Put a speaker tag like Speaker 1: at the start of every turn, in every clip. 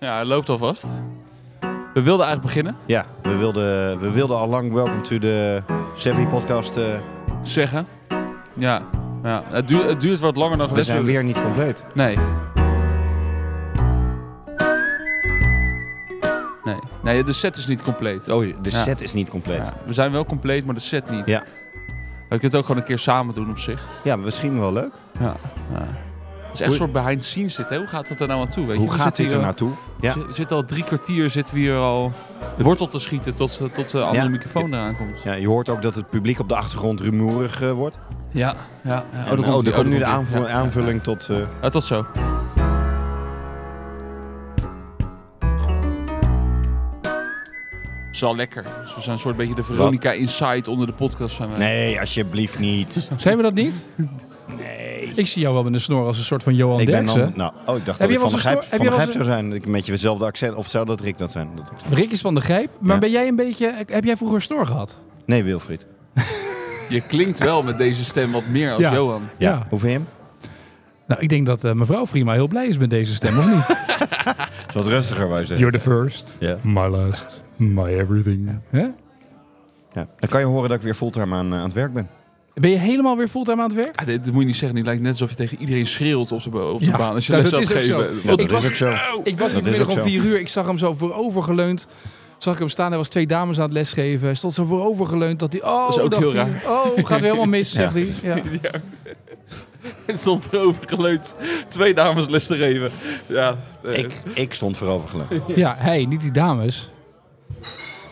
Speaker 1: Ja, hij loopt alvast. We wilden eigenlijk beginnen,
Speaker 2: Ja, we wilden, we wilden al lang Welcome to the Sevi podcast. eh,
Speaker 1: zeggen. Ja, ja. Het, duurt, het duurt wat langer dan
Speaker 2: we
Speaker 1: gewenst.
Speaker 2: zijn weer niet compleet.
Speaker 1: Nee. nee. Nee, de set is niet compleet.
Speaker 2: Oh, de
Speaker 1: Ja.
Speaker 2: set is niet compleet. Ja,
Speaker 1: Ja, we zijn wel compleet, maar de set niet.
Speaker 2: Ja.
Speaker 1: We kunnen het ook gewoon een keer samen doen op zich.
Speaker 2: maar misschien wel leuk.
Speaker 1: Ja. ja. Het is echt een
Speaker 2: Hoe-
Speaker 1: soort behind the scenes dit, hè? Hoe gaat dat er nou aan toe? Weet
Speaker 2: Hoe
Speaker 1: je? We
Speaker 2: gaat
Speaker 1: zitten
Speaker 2: dit er
Speaker 1: hier-
Speaker 2: naartoe? Ja.
Speaker 1: We zitten al drie kwartier, zitten we hier al wortel te schieten tot, tot de andere
Speaker 2: Ja.
Speaker 1: microfoon eraan komt.
Speaker 2: Ja, je hoort ook dat het publiek op de achtergrond rumoerig eh, wordt.
Speaker 1: Ja, nou, ja. Oh, ja.
Speaker 2: En,
Speaker 1: komt-ie,
Speaker 2: er nou, komt oh, nu de
Speaker 1: komt-ie.
Speaker 2: aanvu-
Speaker 1: Ja, ja, ja.
Speaker 2: aanvulling tot... eh,
Speaker 1: Ja, tot zo. Het is wel lekker. Dus we zijn een soort beetje de Veronica Insight onder de podcast. Zijn, we.
Speaker 2: nee, alsjeblieft niet.
Speaker 3: Zijn we dat niet?
Speaker 2: Nee.
Speaker 3: Ik zie jou wel met een snor als een soort van Johan
Speaker 2: Ik ben
Speaker 3: Derksen.
Speaker 2: dan... Nou, oh, ik dacht
Speaker 3: Heb
Speaker 2: dat
Speaker 3: je
Speaker 2: ik
Speaker 3: wel
Speaker 2: van
Speaker 3: eens
Speaker 2: de
Speaker 3: een
Speaker 2: Gijp,
Speaker 3: snor- heb
Speaker 2: van de
Speaker 3: je wel
Speaker 2: Gijp
Speaker 3: eens
Speaker 2: zou zijn. Ik- Met je dezelfde accent. Of zou dat Rick dat zijn? Dat-
Speaker 3: Rick is van de Grijp, maar
Speaker 2: Ja.
Speaker 3: ben jij een beetje... Heb jij vroeger een snor gehad?
Speaker 2: Nee, Wilfried.
Speaker 1: Je klinkt wel met deze stem wat meer als
Speaker 3: Ja.
Speaker 1: Johan.
Speaker 2: Ja.
Speaker 3: Ja.
Speaker 2: Hoe vind je hem?
Speaker 3: Nou, ik denk dat eh, mevrouw Vrima heel blij is met deze stem, of niet?
Speaker 2: Is wat rustiger, wij zeggen.
Speaker 3: You're the first,
Speaker 2: Ja.
Speaker 3: my last, my everything. Hè?
Speaker 2: Ja. Dan kan je horen dat ik weer fulltime aan, eh, aan het werk ben.
Speaker 3: Ben je helemaal weer fulltime aan het werk?
Speaker 1: Ah, dit, dit moet je niet zeggen. Het lijkt net alsof je tegen iedereen schreeuwt op de, ba- op de
Speaker 3: Ja,
Speaker 1: baan. Als je
Speaker 3: nou,
Speaker 1: les
Speaker 3: dat
Speaker 1: aan
Speaker 3: is
Speaker 1: het
Speaker 3: ook
Speaker 1: geven
Speaker 3: zo.
Speaker 1: bent.
Speaker 3: Ik
Speaker 2: dat
Speaker 3: was-
Speaker 2: is ook zo.
Speaker 3: Ik was
Speaker 2: Oh, Dat
Speaker 3: hier
Speaker 2: is
Speaker 3: vanmiddag
Speaker 2: ook
Speaker 3: om
Speaker 2: zo.
Speaker 3: vier uur. Ik zag hem zo voorovergeleund. Zag ik hem staan. Er was twee dames aan het lesgeven. Hij stond zo voorovergeleund. Dat hij... Oh,
Speaker 1: Dat is ook
Speaker 3: dacht
Speaker 1: heel
Speaker 3: hij, Oh, gaat weer helemaal mis, zegt hij. Ja.
Speaker 1: Ja. En stond voorover geleund. Twee dames les te geven. Ja, eh,
Speaker 2: Ik, ik stond voorover geleund.
Speaker 3: ja, hij, niet die dames.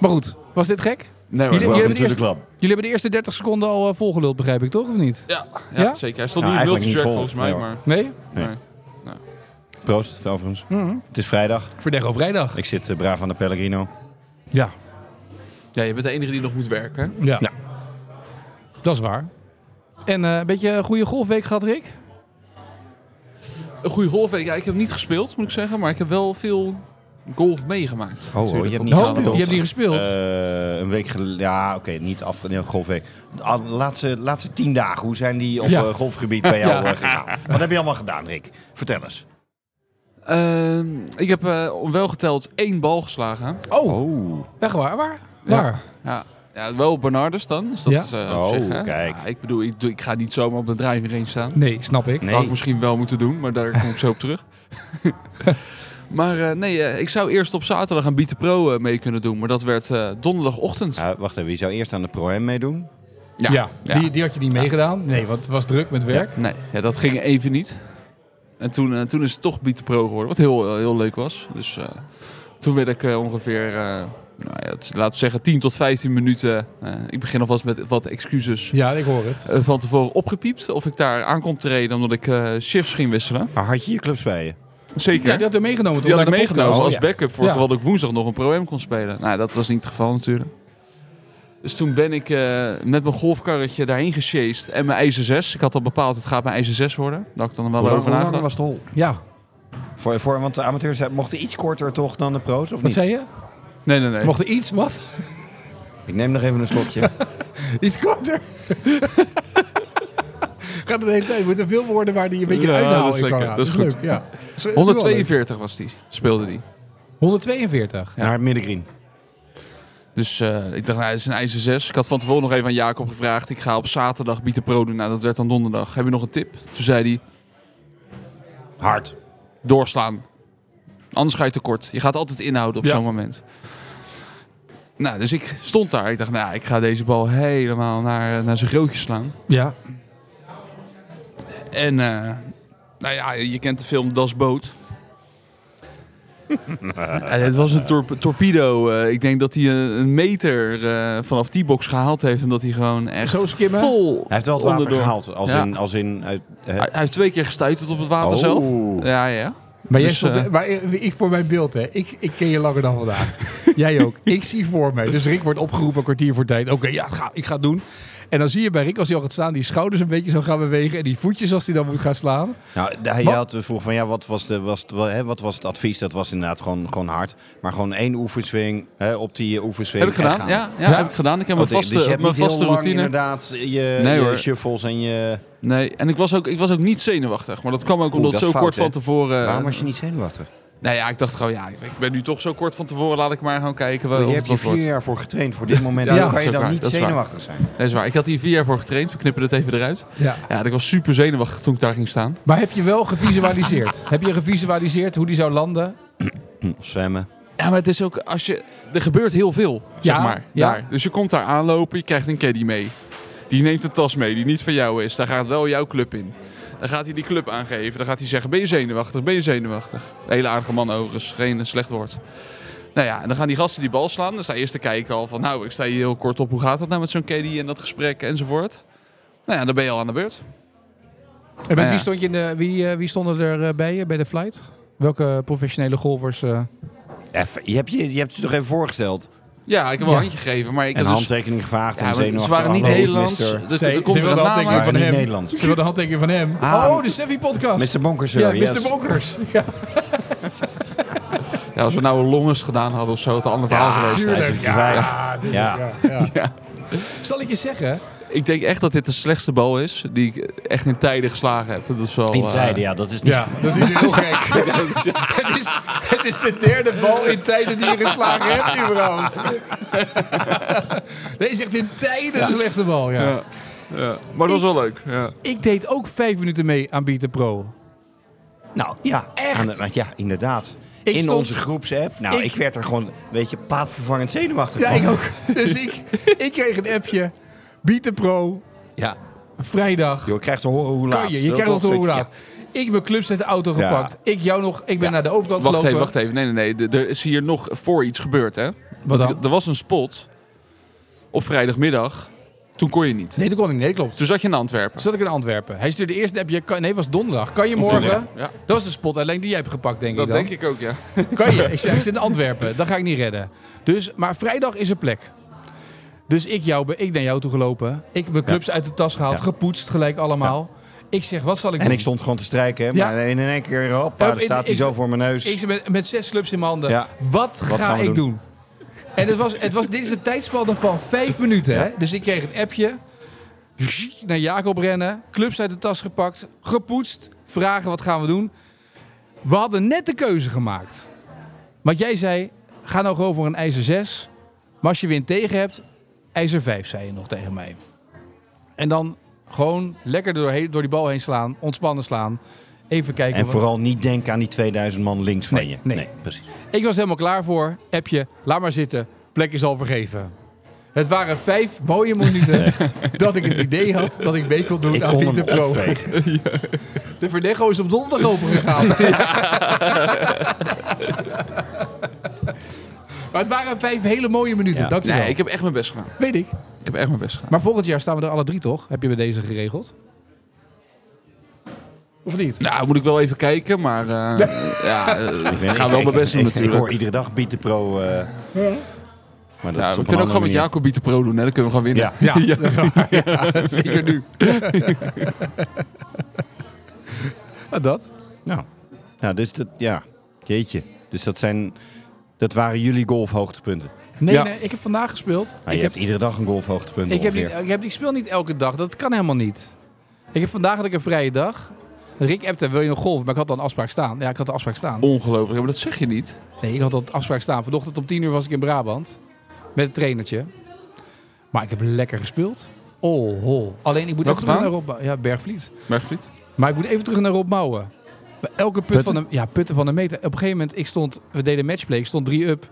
Speaker 3: Maar goed, was dit gek?
Speaker 1: nee, hoor.
Speaker 3: Jullie-
Speaker 2: Welcome
Speaker 3: hebben
Speaker 2: to the
Speaker 3: eerst-
Speaker 2: club.
Speaker 3: Jullie hebben de eerste 30 seconden al eh, volgeluld, begrijp ik toch, of niet?
Speaker 1: ja, ja,
Speaker 3: Ja?
Speaker 1: zeker. Hij stond
Speaker 2: Nou,
Speaker 1: nu in
Speaker 2: eigenlijk
Speaker 1: multitrack
Speaker 2: niet vol,
Speaker 1: volgens mij.
Speaker 2: nee, hoor.
Speaker 1: maar,
Speaker 3: Nee?
Speaker 2: Nee.
Speaker 1: maar-
Speaker 2: Proost, overigens.
Speaker 3: Mhm.
Speaker 2: Het is vrijdag.
Speaker 3: Verdego vrijdag.
Speaker 2: Ik zit eh, braaf aan de Pellegrino.
Speaker 3: Ja,
Speaker 1: Ja, je bent de enige die nog moet werken. hè?
Speaker 3: ja.
Speaker 2: Ja.
Speaker 3: Dat is waar. En eh, een beetje een goede golfweek gehad, Rick?
Speaker 1: Een goede golfweek. Ja, ik heb niet gespeeld, moet ik zeggen. Maar ik heb wel veel golf meegemaakt.
Speaker 2: Oh,
Speaker 1: natuurlijk.
Speaker 2: je hebt
Speaker 1: Op-
Speaker 2: niet
Speaker 3: Oh,
Speaker 2: gespeeld.
Speaker 3: Je hebt niet gespeeld.
Speaker 2: Eh, een week geleden. Ja, oké, niet af. Nee, golfweek. De al- laatste, laatste tien dagen, hoe zijn die op
Speaker 3: Ja.
Speaker 2: eh, golfgebied bij jou
Speaker 3: Ja.
Speaker 2: eh, gegaan? Wat heb je allemaal gedaan, Rick? Vertel eens.
Speaker 1: Ehm, ik heb eh, wel geteld één bal geslagen.
Speaker 3: oh,
Speaker 2: Oh,
Speaker 3: echt waar? Waar?
Speaker 1: Ja.
Speaker 3: Waar?
Speaker 1: Ja, ja wel op Bernardus dan. Dus dat
Speaker 3: Ja.
Speaker 1: is, eh,
Speaker 2: Oh,
Speaker 1: op zich, hè.
Speaker 2: kijk.
Speaker 1: Ja, ik bedoel, ik, doe- ik ga niet zomaar op een driving range staan.
Speaker 3: Nee, snap ik.
Speaker 1: Dat had
Speaker 2: nee.
Speaker 1: ik misschien wel moeten doen, maar daar kom ik zo op terug. maar eh, nee, eh, ik zou eerst op zaterdag aan Bieten Pro eh, mee kunnen doen. Maar dat werd eh, donderdagochtend.
Speaker 2: Ja, wacht even, je zou eerst aan de Pro-M meedoen.
Speaker 1: Ja. Ja.
Speaker 3: Die, die had je niet meegedaan. Nee, want het was druk met werk.
Speaker 1: Nee, ja, dat ging even niet. En toen, eh, toen is het toch Beat the Pro geworden, wat heel, eh, heel leuk was. Dus eh, toen werd ik eh, ongeveer, eh, nou ja, het is- laten we zeggen, 10 tot 15 minuten. eh, ik begin alvast met wat excuses
Speaker 3: Ja, ik hoor het.
Speaker 1: eh, van tevoren opgepiept. Of ik daar aan kon treden omdat ik eh, shifts ging wisselen.
Speaker 2: Maar Ah, had je je clubs bij je?
Speaker 1: Zeker.
Speaker 3: Ja, die had er meegenomen.
Speaker 1: Die
Speaker 3: toch,
Speaker 1: had ik
Speaker 3: naar de podcast.
Speaker 1: meegenomen als
Speaker 2: ja.
Speaker 1: backup voor
Speaker 3: Ja.
Speaker 1: terwijl ik woensdag nog een Pro-M kon spelen. Nou, dat was niet het geval natuurlijk. Dus toen ben ik eh, met mijn golfkarretje daarheen gesjeest en mijn ijzer 6. Ik had al bepaald, het gaat mijn ijzer 6 worden. Dat had ik dan wel
Speaker 2: Hoe lang-
Speaker 1: over
Speaker 2: hoe lang
Speaker 1: nagedacht.
Speaker 2: was het hol?
Speaker 3: Ja,
Speaker 2: Voor, voor, want de amateurs eh, mochten iets korter toch dan de pro's, of
Speaker 3: wat
Speaker 2: niet?
Speaker 3: zei je?
Speaker 1: Nee, nee, nee.
Speaker 3: Mocht er iets, wat?
Speaker 2: Ik neem nog even een slokje.
Speaker 3: Iets korter. Gaat het de hele tijd. Je moet er veel woorden waar die een beetje
Speaker 1: Ja,
Speaker 3: uithalen
Speaker 1: dat is
Speaker 3: in kan.
Speaker 1: lekker.
Speaker 3: Ja,
Speaker 1: Dat is goed.
Speaker 3: leuk, ja. Is, eh, wel leuk.
Speaker 1: 142 was die, speelde die.
Speaker 3: 142.
Speaker 2: Naar het middengreen.
Speaker 1: Dus eh, ik dacht, nou, het is een ijzer 6. Ik had van tevoren nog even aan Jacob gevraagd. Ik ga op zaterdag Bieten Pro doen. Nou, dat werd dan donderdag. Heb je nog een tip? Toen zei hij,
Speaker 2: Hard.
Speaker 1: doorslaan. Anders ga je tekort. Je gaat altijd inhouden op
Speaker 3: Ja.
Speaker 1: zo'n moment. Nou, dus ik stond daar. Ik dacht, nou, ik ga deze bal helemaal naar, eh, naar zijn grootje slaan.
Speaker 3: Ja.
Speaker 1: En, eh, nou ja, je kent de film Das Boot. en het was een tor- torpedo. Eh, ik denk dat hij een, een meter eh, vanaf die box gehaald heeft. En dat hij gewoon echt
Speaker 3: Zo skimmen?
Speaker 1: vol...
Speaker 2: Hij heeft wel het water
Speaker 1: onderdoor-
Speaker 2: gehaald. Als
Speaker 1: Ja.
Speaker 2: in, als in uit, hè?
Speaker 3: Ah,
Speaker 1: Hij, hij heeft twee keer gestuiterd op het water
Speaker 2: Oh.
Speaker 1: zelf. Ja, ja.
Speaker 3: Maar, jij
Speaker 1: Dus,
Speaker 3: stond,
Speaker 1: eh,
Speaker 3: maar ik voor mijn beeld, hè. Ik, ik ken je langer dan vandaag. jij ook. Ik zie voor mij. Dus Rick wordt opgeroepen een kwartier voor tijd. Oké, ja, ga, ik ga het doen. En dan zie je bij Rick, als hij al gaat staan, die schouders een beetje zo gaan bewegen. En die voetjes als hij dan moet gaan slaan.
Speaker 2: Nou, de- je
Speaker 3: Wat?
Speaker 2: had eh, vroeg van ja, wat was, de, was, het, wel, hè, wat was het advies? Dat was inderdaad gewoon, gewoon hard. Maar gewoon één oefenswing hè, op die eh, oefenswing.
Speaker 1: Heb ik gedaan. Ja, ja,
Speaker 3: Ja.
Speaker 1: heb ik gedaan. Ik heb mijn
Speaker 2: Oké,
Speaker 1: vaste,
Speaker 2: dus je hebt
Speaker 1: mijn
Speaker 2: niet heel
Speaker 1: vaste
Speaker 2: lang
Speaker 1: routine.
Speaker 2: inderdaad je,
Speaker 1: Nee,
Speaker 2: je
Speaker 1: hoor.
Speaker 2: shuffles en je...
Speaker 1: Nee, en ik was ook, ik was ook niet zenuwachtig. Maar dat kwam ook
Speaker 2: Oeh,
Speaker 1: omdat
Speaker 2: dat
Speaker 1: zo
Speaker 2: is fout,
Speaker 1: kort
Speaker 2: hè?
Speaker 1: van tevoren... eh,
Speaker 2: Waarom was je niet zenuwachtig?
Speaker 1: Nou ja, ik dacht gewoon, ja, ik ben nu toch zo kort van tevoren, laat ik maar gaan kijken wel,
Speaker 2: je
Speaker 1: of
Speaker 2: hebt
Speaker 1: het
Speaker 2: hier
Speaker 1: wat wordt.
Speaker 2: vier jaar voor getraind voor dit moment.
Speaker 3: Ja,
Speaker 2: Dan
Speaker 3: dat
Speaker 2: kan
Speaker 1: is
Speaker 2: je
Speaker 1: ook
Speaker 2: dan
Speaker 1: waar,
Speaker 2: niet
Speaker 1: dat is waar.
Speaker 2: zenuwachtig zijn.
Speaker 1: Nee, dat is waar. Ik had hier vier jaar voor getraind, we knippen het even eruit.
Speaker 3: Ja.
Speaker 1: Ja, ik was super zenuwachtig toen ik daar ging staan.
Speaker 3: Maar heb je wel gevisualiseerd? heb je gevisualiseerd hoe die zou landen?
Speaker 2: Of zwemmen.
Speaker 1: Ja, maar het is ook als je. Er gebeurt heel veel,
Speaker 3: Ja,
Speaker 1: zeg maar.
Speaker 3: ja.
Speaker 1: Daar. Dus je komt daar aanlopen, je krijgt een caddy mee. Die neemt een tas mee die niet van jou is. Daar gaat wel jouw club in. Dan gaat hij die club aangeven. Dan gaat hij zeggen: Ben je zenuwachtig? Ben je zenuwachtig? Een hele aardige man, overigens. Geen eh, slecht woord. Nou ja, en dan gaan die gasten die bal slaan. Dan sta je eerst te kijken al van: Nou, ik sta hier heel kort op. Hoe gaat dat nou met zo'n caddy en dat gesprek enzovoort? Nou ja, dan ben je al aan de beurt.
Speaker 3: En met
Speaker 1: Ja.
Speaker 3: wie, stond je in de, wie, eh, wie stonden er eh, bij je bij de flight? Welke professionele golfers? eh?
Speaker 2: Even, je, hebt je, je hebt het toch even voorgesteld.
Speaker 1: Ja, ik heb wel
Speaker 3: Ja.
Speaker 1: een handje gegeven, maar ik
Speaker 2: en
Speaker 1: heb dus.
Speaker 2: handtekening gevraagd.
Speaker 1: Ja,
Speaker 2: en
Speaker 1: maar ze
Speaker 2: zenuwachtig.
Speaker 1: waren niet
Speaker 2: Hallo,
Speaker 1: Nederlands.
Speaker 2: mister.
Speaker 1: Er-
Speaker 3: Ze-
Speaker 1: er komt
Speaker 3: ze
Speaker 1: er een naam
Speaker 3: wilden handtekening
Speaker 1: uit.
Speaker 2: Waren
Speaker 3: van
Speaker 2: niet
Speaker 3: hem.
Speaker 2: Nederlands.
Speaker 3: Zullen we de handtekening van hem?
Speaker 2: Ah.
Speaker 3: oh, de Sevi podcast.
Speaker 2: Mr. Bonkers.
Speaker 3: ja,
Speaker 2: yes.
Speaker 3: Mr. Bonkers. Ja,
Speaker 1: Ja, als we nou een longens gedaan hadden of zo, had het een ander verhaal geweest.
Speaker 2: tuurlijk.
Speaker 1: zijn.
Speaker 2: is een vijf.
Speaker 3: tuurlijk,
Speaker 2: Ja.
Speaker 3: ja, ja. Zal ik je zeggen?
Speaker 1: Ik denk echt dat dit de slechtste bal is die ik echt in tijden geslagen heb. Dat is wel,
Speaker 2: In
Speaker 1: eh,
Speaker 2: tijden, ja, dat is niet...
Speaker 3: Ja, dat is heel gek. het, is, het is de derde bal in tijden die je geslagen hebt, überhaupt. Deze is echt in tijden de slechtste bal, ja.
Speaker 1: ja. Ja. Maar dat was wel leuk. Ja.
Speaker 3: Ik deed ook vijf minuten mee aan Beat the Pro.
Speaker 2: Nou, ja.
Speaker 3: Echt?
Speaker 2: Aan de- ja, inderdaad.
Speaker 3: Ik
Speaker 2: in
Speaker 3: stond-
Speaker 2: onze groepsapp. Nou,
Speaker 3: Ik-
Speaker 2: ik, werd er gewoon een beetje paadvervangend zenuwachtig
Speaker 3: Ja,
Speaker 2: van.
Speaker 3: ik ook. Dus ik, ik kreeg een appje. Beat the Pro,
Speaker 2: Ja.
Speaker 3: vrijdag.
Speaker 2: Joh, je krijgt te horen hoe laat.
Speaker 3: Kan je, je krijgt nog te horen hoe laat. Ik mijn clubs uit de auto
Speaker 2: Ja.
Speaker 3: gepakt. Ik jou nog, ik ben naar de overkant
Speaker 1: Wacht
Speaker 3: gelopen.
Speaker 1: even, wacht even. Nee, nee, nee. Er is hier nog voor iets gebeurd, hè?
Speaker 3: Wat dan?
Speaker 1: Er was een spot op vrijdagmiddag. Toen kon je niet.
Speaker 3: Nee, toen kon ik niet. Nee, klopt.
Speaker 1: Toen zat je in Antwerpen.
Speaker 3: Toen zat ik in Antwerpen. Hij stuurde eerst een appje. Kan, nee, het was donderdag. Kan je morgen?
Speaker 1: Ja,
Speaker 3: Dat was de spot alleen die jij hebt gepakt, denk
Speaker 1: dat
Speaker 3: ik dan.
Speaker 1: denk ik ook, ja.
Speaker 3: Kan je? Ik zei, ik zit in Antwerpen. Dat ga ik niet redden. Dus, maar vrijdag is er plek. Dus ik, jou, be- ik naar jou toe gelopen. Ik mijn clubs uit de tas gehaald.
Speaker 2: Ja.
Speaker 3: Gepoetst gelijk allemaal. Ik zeg, wat zal ik
Speaker 2: En
Speaker 3: doen?
Speaker 2: ik stond gewoon te strijken. hè,
Speaker 3: Ja.
Speaker 2: Maar in één keer, hoppa,
Speaker 3: Hup,
Speaker 2: daar
Speaker 3: in-
Speaker 2: staat hij
Speaker 3: ik-
Speaker 2: zo voor mijn neus.
Speaker 3: Ik zit met, met zes clubs in mijn handen.
Speaker 2: Ja.
Speaker 3: Wat, ga
Speaker 2: gaan we
Speaker 3: ik doen?
Speaker 2: doen?
Speaker 3: En het was, het was, dit is een tijdspanne van vijf minuten. Hè? Dus ik kreeg het appje. Naar Jacob rennen. Clubs uit de tas gepakt. Gepoetst. Vragen wat gaan we doen. We hadden net de keuze gemaakt. Want jij zei, ga nou gewoon voor een ijzer 6. Maar als je win tegen hebt, ijzer 5, zei je nog tegen mij. En dan gewoon lekker er doorheen, door die bal heen slaan. Ontspannen slaan. Even kijken.
Speaker 2: en
Speaker 3: of-
Speaker 2: vooral niet denken aan die 2000 man links van
Speaker 3: Nee,
Speaker 2: je.
Speaker 3: nee.
Speaker 2: precies.
Speaker 3: Ik was helemaal klaar voor. Appje, laat maar zitten. Plek is al vergeven. Het waren vijf mooie minuten dat ik het idee had dat ik mee kon doen
Speaker 2: Ik
Speaker 3: aan
Speaker 2: kon
Speaker 3: Pieter
Speaker 2: hem
Speaker 3: Pro.
Speaker 2: opvegen.
Speaker 3: De Verdecho is op donderdag open gegaan. maar het waren vijf hele mooie minuten.
Speaker 2: Ja.
Speaker 3: Dankjewel.
Speaker 1: Nee, ik heb echt mijn best gedaan.
Speaker 3: Weet ik.
Speaker 1: Ik heb echt mijn best gedaan.
Speaker 3: Maar volgend jaar staan we er alle drie toch? Heb je bij deze geregeld? Of niet?
Speaker 1: Nou, moet ik wel even kijken, maar eh, ja, eh,
Speaker 2: Ik weet
Speaker 1: ik ga
Speaker 2: niet,
Speaker 1: wel
Speaker 2: ik-
Speaker 1: mijn best doen
Speaker 2: ik- Ik hoor
Speaker 1: natuurlijk.
Speaker 2: iedere dag Beat de Pro. eh, maar dat
Speaker 1: Ja,
Speaker 2: is
Speaker 1: we kunnen ook
Speaker 2: op een
Speaker 1: gewoon met
Speaker 2: andere
Speaker 1: Jacob de Pro doen, hè? Dan kunnen we gewoon winnen.
Speaker 2: manier. Ja.
Speaker 3: Ja, dat is waar. Ja, zeker nu. Nou, dat.
Speaker 2: Nou, nou, dus dat, ja. Jeetje. Dus dat zijn, dat waren jullie golfhoogtepunten.
Speaker 3: Nee,
Speaker 1: Ja.
Speaker 3: nee, ik heb vandaag gespeeld.
Speaker 2: Maar
Speaker 3: ik,
Speaker 2: Nou, je
Speaker 3: heb,
Speaker 2: hebt iedere dag een golfhoogtepunt
Speaker 3: ik, heb niet,
Speaker 2: ongeveer.
Speaker 3: ik, heb, ik speel niet elke dag. Dat kan helemaal niet. Ik heb vandaag had ik een vrije dag. Rick appte, wil je nog golf? Maar ik had al een afspraak staan. Ja, ik had de afspraak staan.
Speaker 1: Ongelooflijk, Ja, maar dat zeg je niet.
Speaker 3: Nee, ik had al een afspraak staan. Vanochtend om 10 uur was ik in Brabant. Met een trainertje. Maar ik heb lekker gespeeld. Oh, ho. Alleen ik moet
Speaker 1: Welke
Speaker 3: even terug
Speaker 1: baan?
Speaker 3: naar Rob Bou- Ja, Bergvliet.
Speaker 1: Bergvliet?
Speaker 3: Maar ik moet even terug naar Rob Mouwen. Elke put
Speaker 2: Putten?
Speaker 3: van de, ja, putten van de meter. Op een gegeven moment, ik stond, we deden matchplay, ik stond drie up.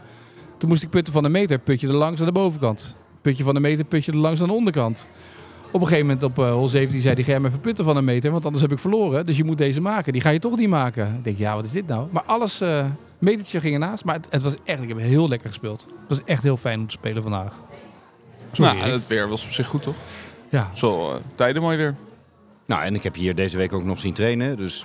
Speaker 3: Toen moest ik putten van de meter, putje er langs aan de bovenkant. Putje van de meter, putje er langs aan de onderkant. Op een gegeven moment op eh hol 17 zei die ga jij maar even putten van een meter, want anders heb ik verloren. Dus je moet deze maken, die ga je toch niet maken. Ik denk, ja, wat is dit nou? Maar alles, eh metertje ging ernaast. Maar het, het was echt, ik heb heel lekker gespeeld. Het was echt heel fijn om te spelen vandaag. Sorry,
Speaker 1: nou,
Speaker 3: Erik.
Speaker 1: het weer was op zich goed, toch?
Speaker 3: Ja,
Speaker 1: Zo, eh, tijden mooi weer.
Speaker 2: Nou, en ik heb hier deze week ook nog zien trainen. Dus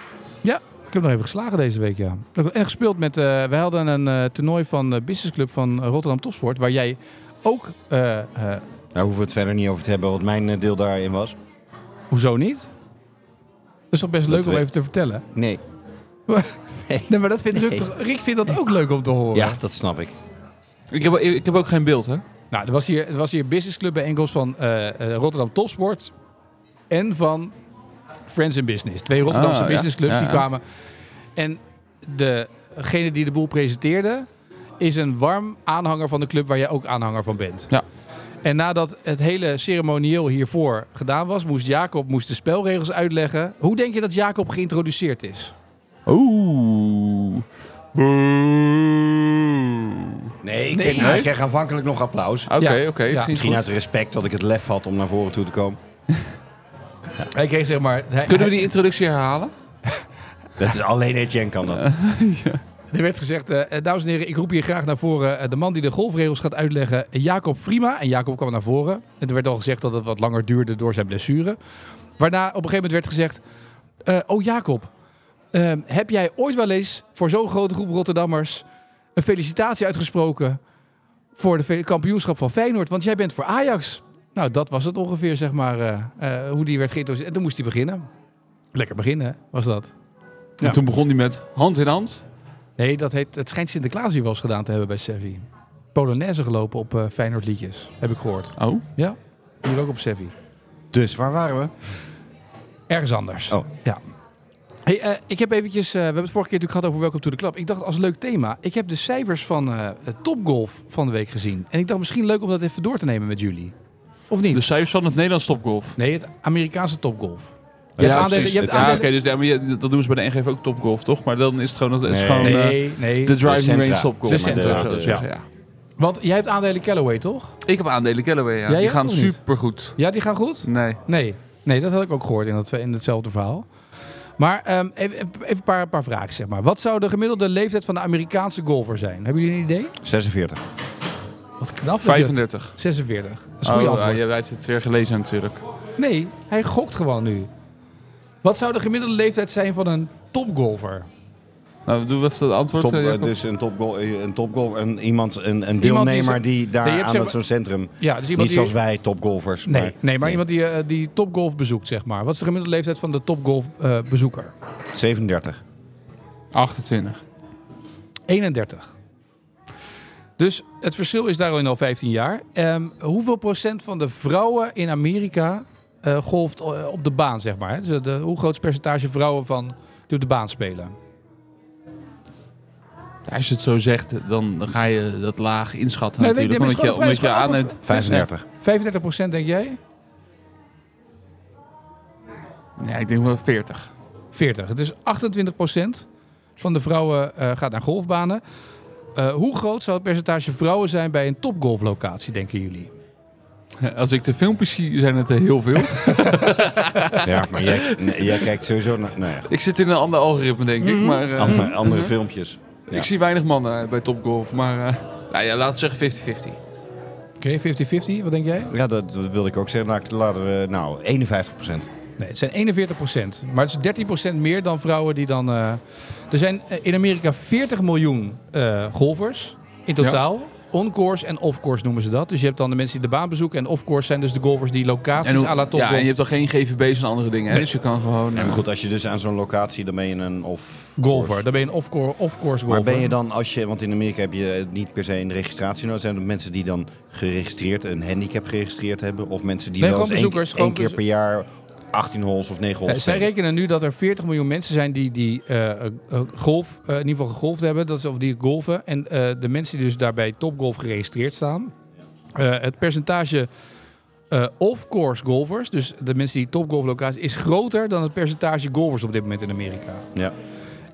Speaker 3: Ik heb nog even geslagen deze week, ja. En gespeeld met... eh we hadden een eh, toernooi van de Business Club van Rotterdam Topsport... waar jij ook... eh, eh,
Speaker 2: daar nou, hoeven we het verder niet over te hebben wat mijn eh, deel daarin was.
Speaker 3: hoezo niet? Dat is toch best
Speaker 2: Dat
Speaker 3: leuk om
Speaker 2: weet-
Speaker 3: even te vertellen?
Speaker 2: Nee.
Speaker 3: Nee, maar dat vindt Rick,
Speaker 2: Nee.
Speaker 3: toch- Rick vindt dat ook leuk om te horen.
Speaker 2: Ja, dat snap ik.
Speaker 1: Ik heb, ik heb ook geen beeld, hè?
Speaker 3: Nou, er was hier, er was hier een Business Club bijeenkomst van eh, eh, Rotterdam Topsport... en van Friends in Business. Twee Rotterdamse
Speaker 1: Ah, ja.
Speaker 3: business clubs
Speaker 1: Ja,
Speaker 3: die
Speaker 1: ja.
Speaker 3: kwamen. En de degene die de boel presenteerde, is een warm aanhanger van de club waar jij ook aanhanger van bent.
Speaker 1: Ja.
Speaker 3: En nadat het hele ceremonieel hiervoor gedaan was, moest Jacob moest de spelregels uitleggen. Hoe denk je dat Jacob geïntroduceerd is?
Speaker 1: Oeh. Boe.
Speaker 2: Nee, Ah, ik,
Speaker 3: Nee.
Speaker 2: Kreeg, nou, ik kreeg aanvankelijk nog applaus.
Speaker 1: Oké,
Speaker 3: Ja.
Speaker 1: oké.
Speaker 3: Ja.
Speaker 1: Misschien
Speaker 2: Misschien
Speaker 1: goed.
Speaker 2: uit respect dat ik het lef had om naar voren toe te komen.
Speaker 3: Hij kreeg zeg maar. hij-
Speaker 1: Kunnen we die introductie herhalen?
Speaker 2: Dat is alleen Etienne kan dat.
Speaker 3: Er werd gezegd, eh, eh, dames en heren, ik roep hier graag naar voren eh, de man die de golfregels gaat uitleggen, Jacob Frima. En Jacob kwam naar voren. En er werd al gezegd dat het wat langer duurde door zijn blessure. Waarna op een gegeven moment werd gezegd, eh, oh Jacob, ehm, heb jij ooit wel eens voor zo'n grote groep Rotterdammers een felicitatie uitgesproken voor de fe- kampioenschap van Feyenoord? Want jij bent voor Ajax. Nou, dat was het ongeveer, zeg maar, eh, eh, hoe die werd geïntroduceerd. En toen moest hij beginnen. Lekker beginnen, was dat. Ja.
Speaker 1: En toen begon hij met hand in hand.
Speaker 3: Nee, dat heet, het schijnt Sinterklaas hier wel eens gedaan te hebben bij Sevi. Polonaise gelopen op eh Feyenoord liedjes, heb ik gehoord.
Speaker 1: Oh.
Speaker 3: Ja, hier ook op Sevi.
Speaker 2: Dus waar waren we?
Speaker 3: Ergens anders.
Speaker 2: Oh.
Speaker 3: Ja. Hey, eh, ik heb eventjes, eh, we hebben het vorige keer natuurlijk gehad over Welcome to the Club. Ik dacht als leuk thema, ik heb de cijfers van eh Topgolf van de week gezien. En ik dacht misschien leuk om dat even door te nemen met jullie. Of niet?
Speaker 1: De cijfers van het Nederlands topgolf.
Speaker 3: Nee, het Amerikaanse Topgolf. Je hebt aandelen-
Speaker 1: precies.
Speaker 3: je hebt
Speaker 1: Ja, oké,
Speaker 3: aandelen-
Speaker 1: dus, ja, maar je- dat doen ze bij de NGV ook topgolf, toch? Maar dan is het gewoon, dat is
Speaker 2: Nee.
Speaker 1: gewoon eh,
Speaker 3: Nee, nee.
Speaker 1: de driving
Speaker 2: centra.
Speaker 1: range topgolf.
Speaker 3: De centra,
Speaker 1: Maar dat
Speaker 2: dus,
Speaker 1: zou ik
Speaker 3: ja.
Speaker 1: zeggen,
Speaker 3: Want jij hebt aandelen Callaway, toch?
Speaker 1: ja. Ik heb aandelen Callaway, ja.
Speaker 3: Jij
Speaker 1: Die
Speaker 3: ook
Speaker 1: gaan
Speaker 3: of niet?
Speaker 1: supergoed.
Speaker 3: Ja, die gaan goed?
Speaker 1: Nee.
Speaker 3: Nee, nee dat had ik ook gehoord in, dat, in hetzelfde verhaal. Maar ehm, even, even een paar, een paar vragen, zeg maar. Wat zou de gemiddelde leeftijd van de Amerikaanse golfer zijn? Hebben jullie een idee?
Speaker 2: 46.
Speaker 3: Wat knap. dat je dat-
Speaker 1: 35.
Speaker 3: 46. Dat is een goede
Speaker 1: oh,
Speaker 3: antwoord.
Speaker 1: ja, jij hebt het weer gelezen natuurlijk.
Speaker 3: Nee, hij gokt gewoon nu. Wat zou de gemiddelde leeftijd zijn van een topgolfer?
Speaker 1: Nou, doen we even het antwoord.
Speaker 2: Top,
Speaker 1: eh,
Speaker 2: eh,
Speaker 1: Jacob?
Speaker 2: dus een topgol, eh, een topgolf, een, iemand, een, een deelnemer die, daar
Speaker 3: Nee, je hebt
Speaker 2: aan
Speaker 3: zeg
Speaker 2: dat zo'n centrum.
Speaker 3: Ja, dus
Speaker 2: Niet
Speaker 3: iemand
Speaker 2: zoals
Speaker 3: die...
Speaker 2: wij topgolfers.
Speaker 3: Nee, maar, nee, maar iemand die, eh, die topgolf bezoekt, zeg maar. Wat is de gemiddelde leeftijd van de topgolfbezoeker? bezoeker?
Speaker 2: 37.
Speaker 1: 28.
Speaker 3: 31. Dus het verschil is daarin al 15 jaar. Ehm, hoeveel procent van de vrouwen in Amerika eh, golft eh, op de baan, zeg maar? hè? Dus de, hoe groot is het percentage vrouwen van die op de baan
Speaker 1: Nou,
Speaker 3: spelen?
Speaker 1: Als je het zo zegt, dan ga je dat laag inschatten
Speaker 3: Nee,
Speaker 1: natuurlijk.
Speaker 3: nee, dit is
Speaker 1: omdat je,
Speaker 3: gewoon
Speaker 1: omdat
Speaker 3: een
Speaker 1: je
Speaker 3: vraag, is
Speaker 1: aanneemt...
Speaker 2: 35.
Speaker 3: 35 procent, denk jij?
Speaker 1: Ja, ik denk wel 40.
Speaker 3: 40. Dus 28 procent van de vrouwen eh, gaat naar golfbanen. Eh, hoe groot zou het percentage vrouwen zijn bij een topgolflocatie, denken jullie?
Speaker 1: Als ik de filmpjes zie, zijn het er heel veel.
Speaker 2: Ja, maar jij, nee, jij kijkt sowieso naar nee,
Speaker 1: ik zit in een ander algoritme, denk
Speaker 3: Mhm.
Speaker 1: ik. Maar eh,
Speaker 2: andere, andere filmpjes. Ja.
Speaker 1: ik zie weinig mannen bij Topgolf. Maar eh, nou ja, laten we zeggen 50-50.
Speaker 3: Oké, 50-50, wat denk jij?
Speaker 2: Ja, dat, dat wilde ik ook zeggen. Nou, ik- laten we, nou 51
Speaker 3: Nee, het zijn 41 procent. Maar het is 13 procent meer dan vrouwen die dan... eh, er zijn eh, in Amerika 40 miljoen eh, golfers in totaal. On-course en off-course noemen ze dat. Dus je hebt dan de mensen die de baan bezoeken. En off-course zijn dus de golfers die locaties
Speaker 1: hoe-
Speaker 3: à la top
Speaker 1: ja, en je hebt dan geen GVB's en andere dingen. Hè? Dus je kan gewoon...
Speaker 2: Ja,
Speaker 1: eh,
Speaker 2: maar goed, als je dus aan zo'n locatie, dan ben je een of...
Speaker 3: golfer. Dan ben je een off-course off golfer.
Speaker 2: Maar ben je dan, als je, want in Amerika heb je eh, niet per se een registratie nodig. Zijn er mensen die dan geregistreerd, een handicap geregistreerd hebben? Of mensen die
Speaker 3: Nee,
Speaker 2: wel eens
Speaker 3: gewoon
Speaker 2: één-
Speaker 3: bezoekers,
Speaker 2: één
Speaker 3: gewoon
Speaker 2: keer per jaar 18 holes of 9 holes
Speaker 3: Eh, zij
Speaker 2: spelen?
Speaker 3: rekenen nu dat er 40 miljoen mensen zijn die, die eh, eh, golf, eh, in ieder geval gegolfd hebben, dat is, of die golven. En eh, de mensen die dus daarbij topgolf geregistreerd staan. eh, het percentage eh, off-course golfers, dus de mensen die topgolf locaties, is groter dan het percentage golfers op dit moment in Amerika.
Speaker 2: Ja.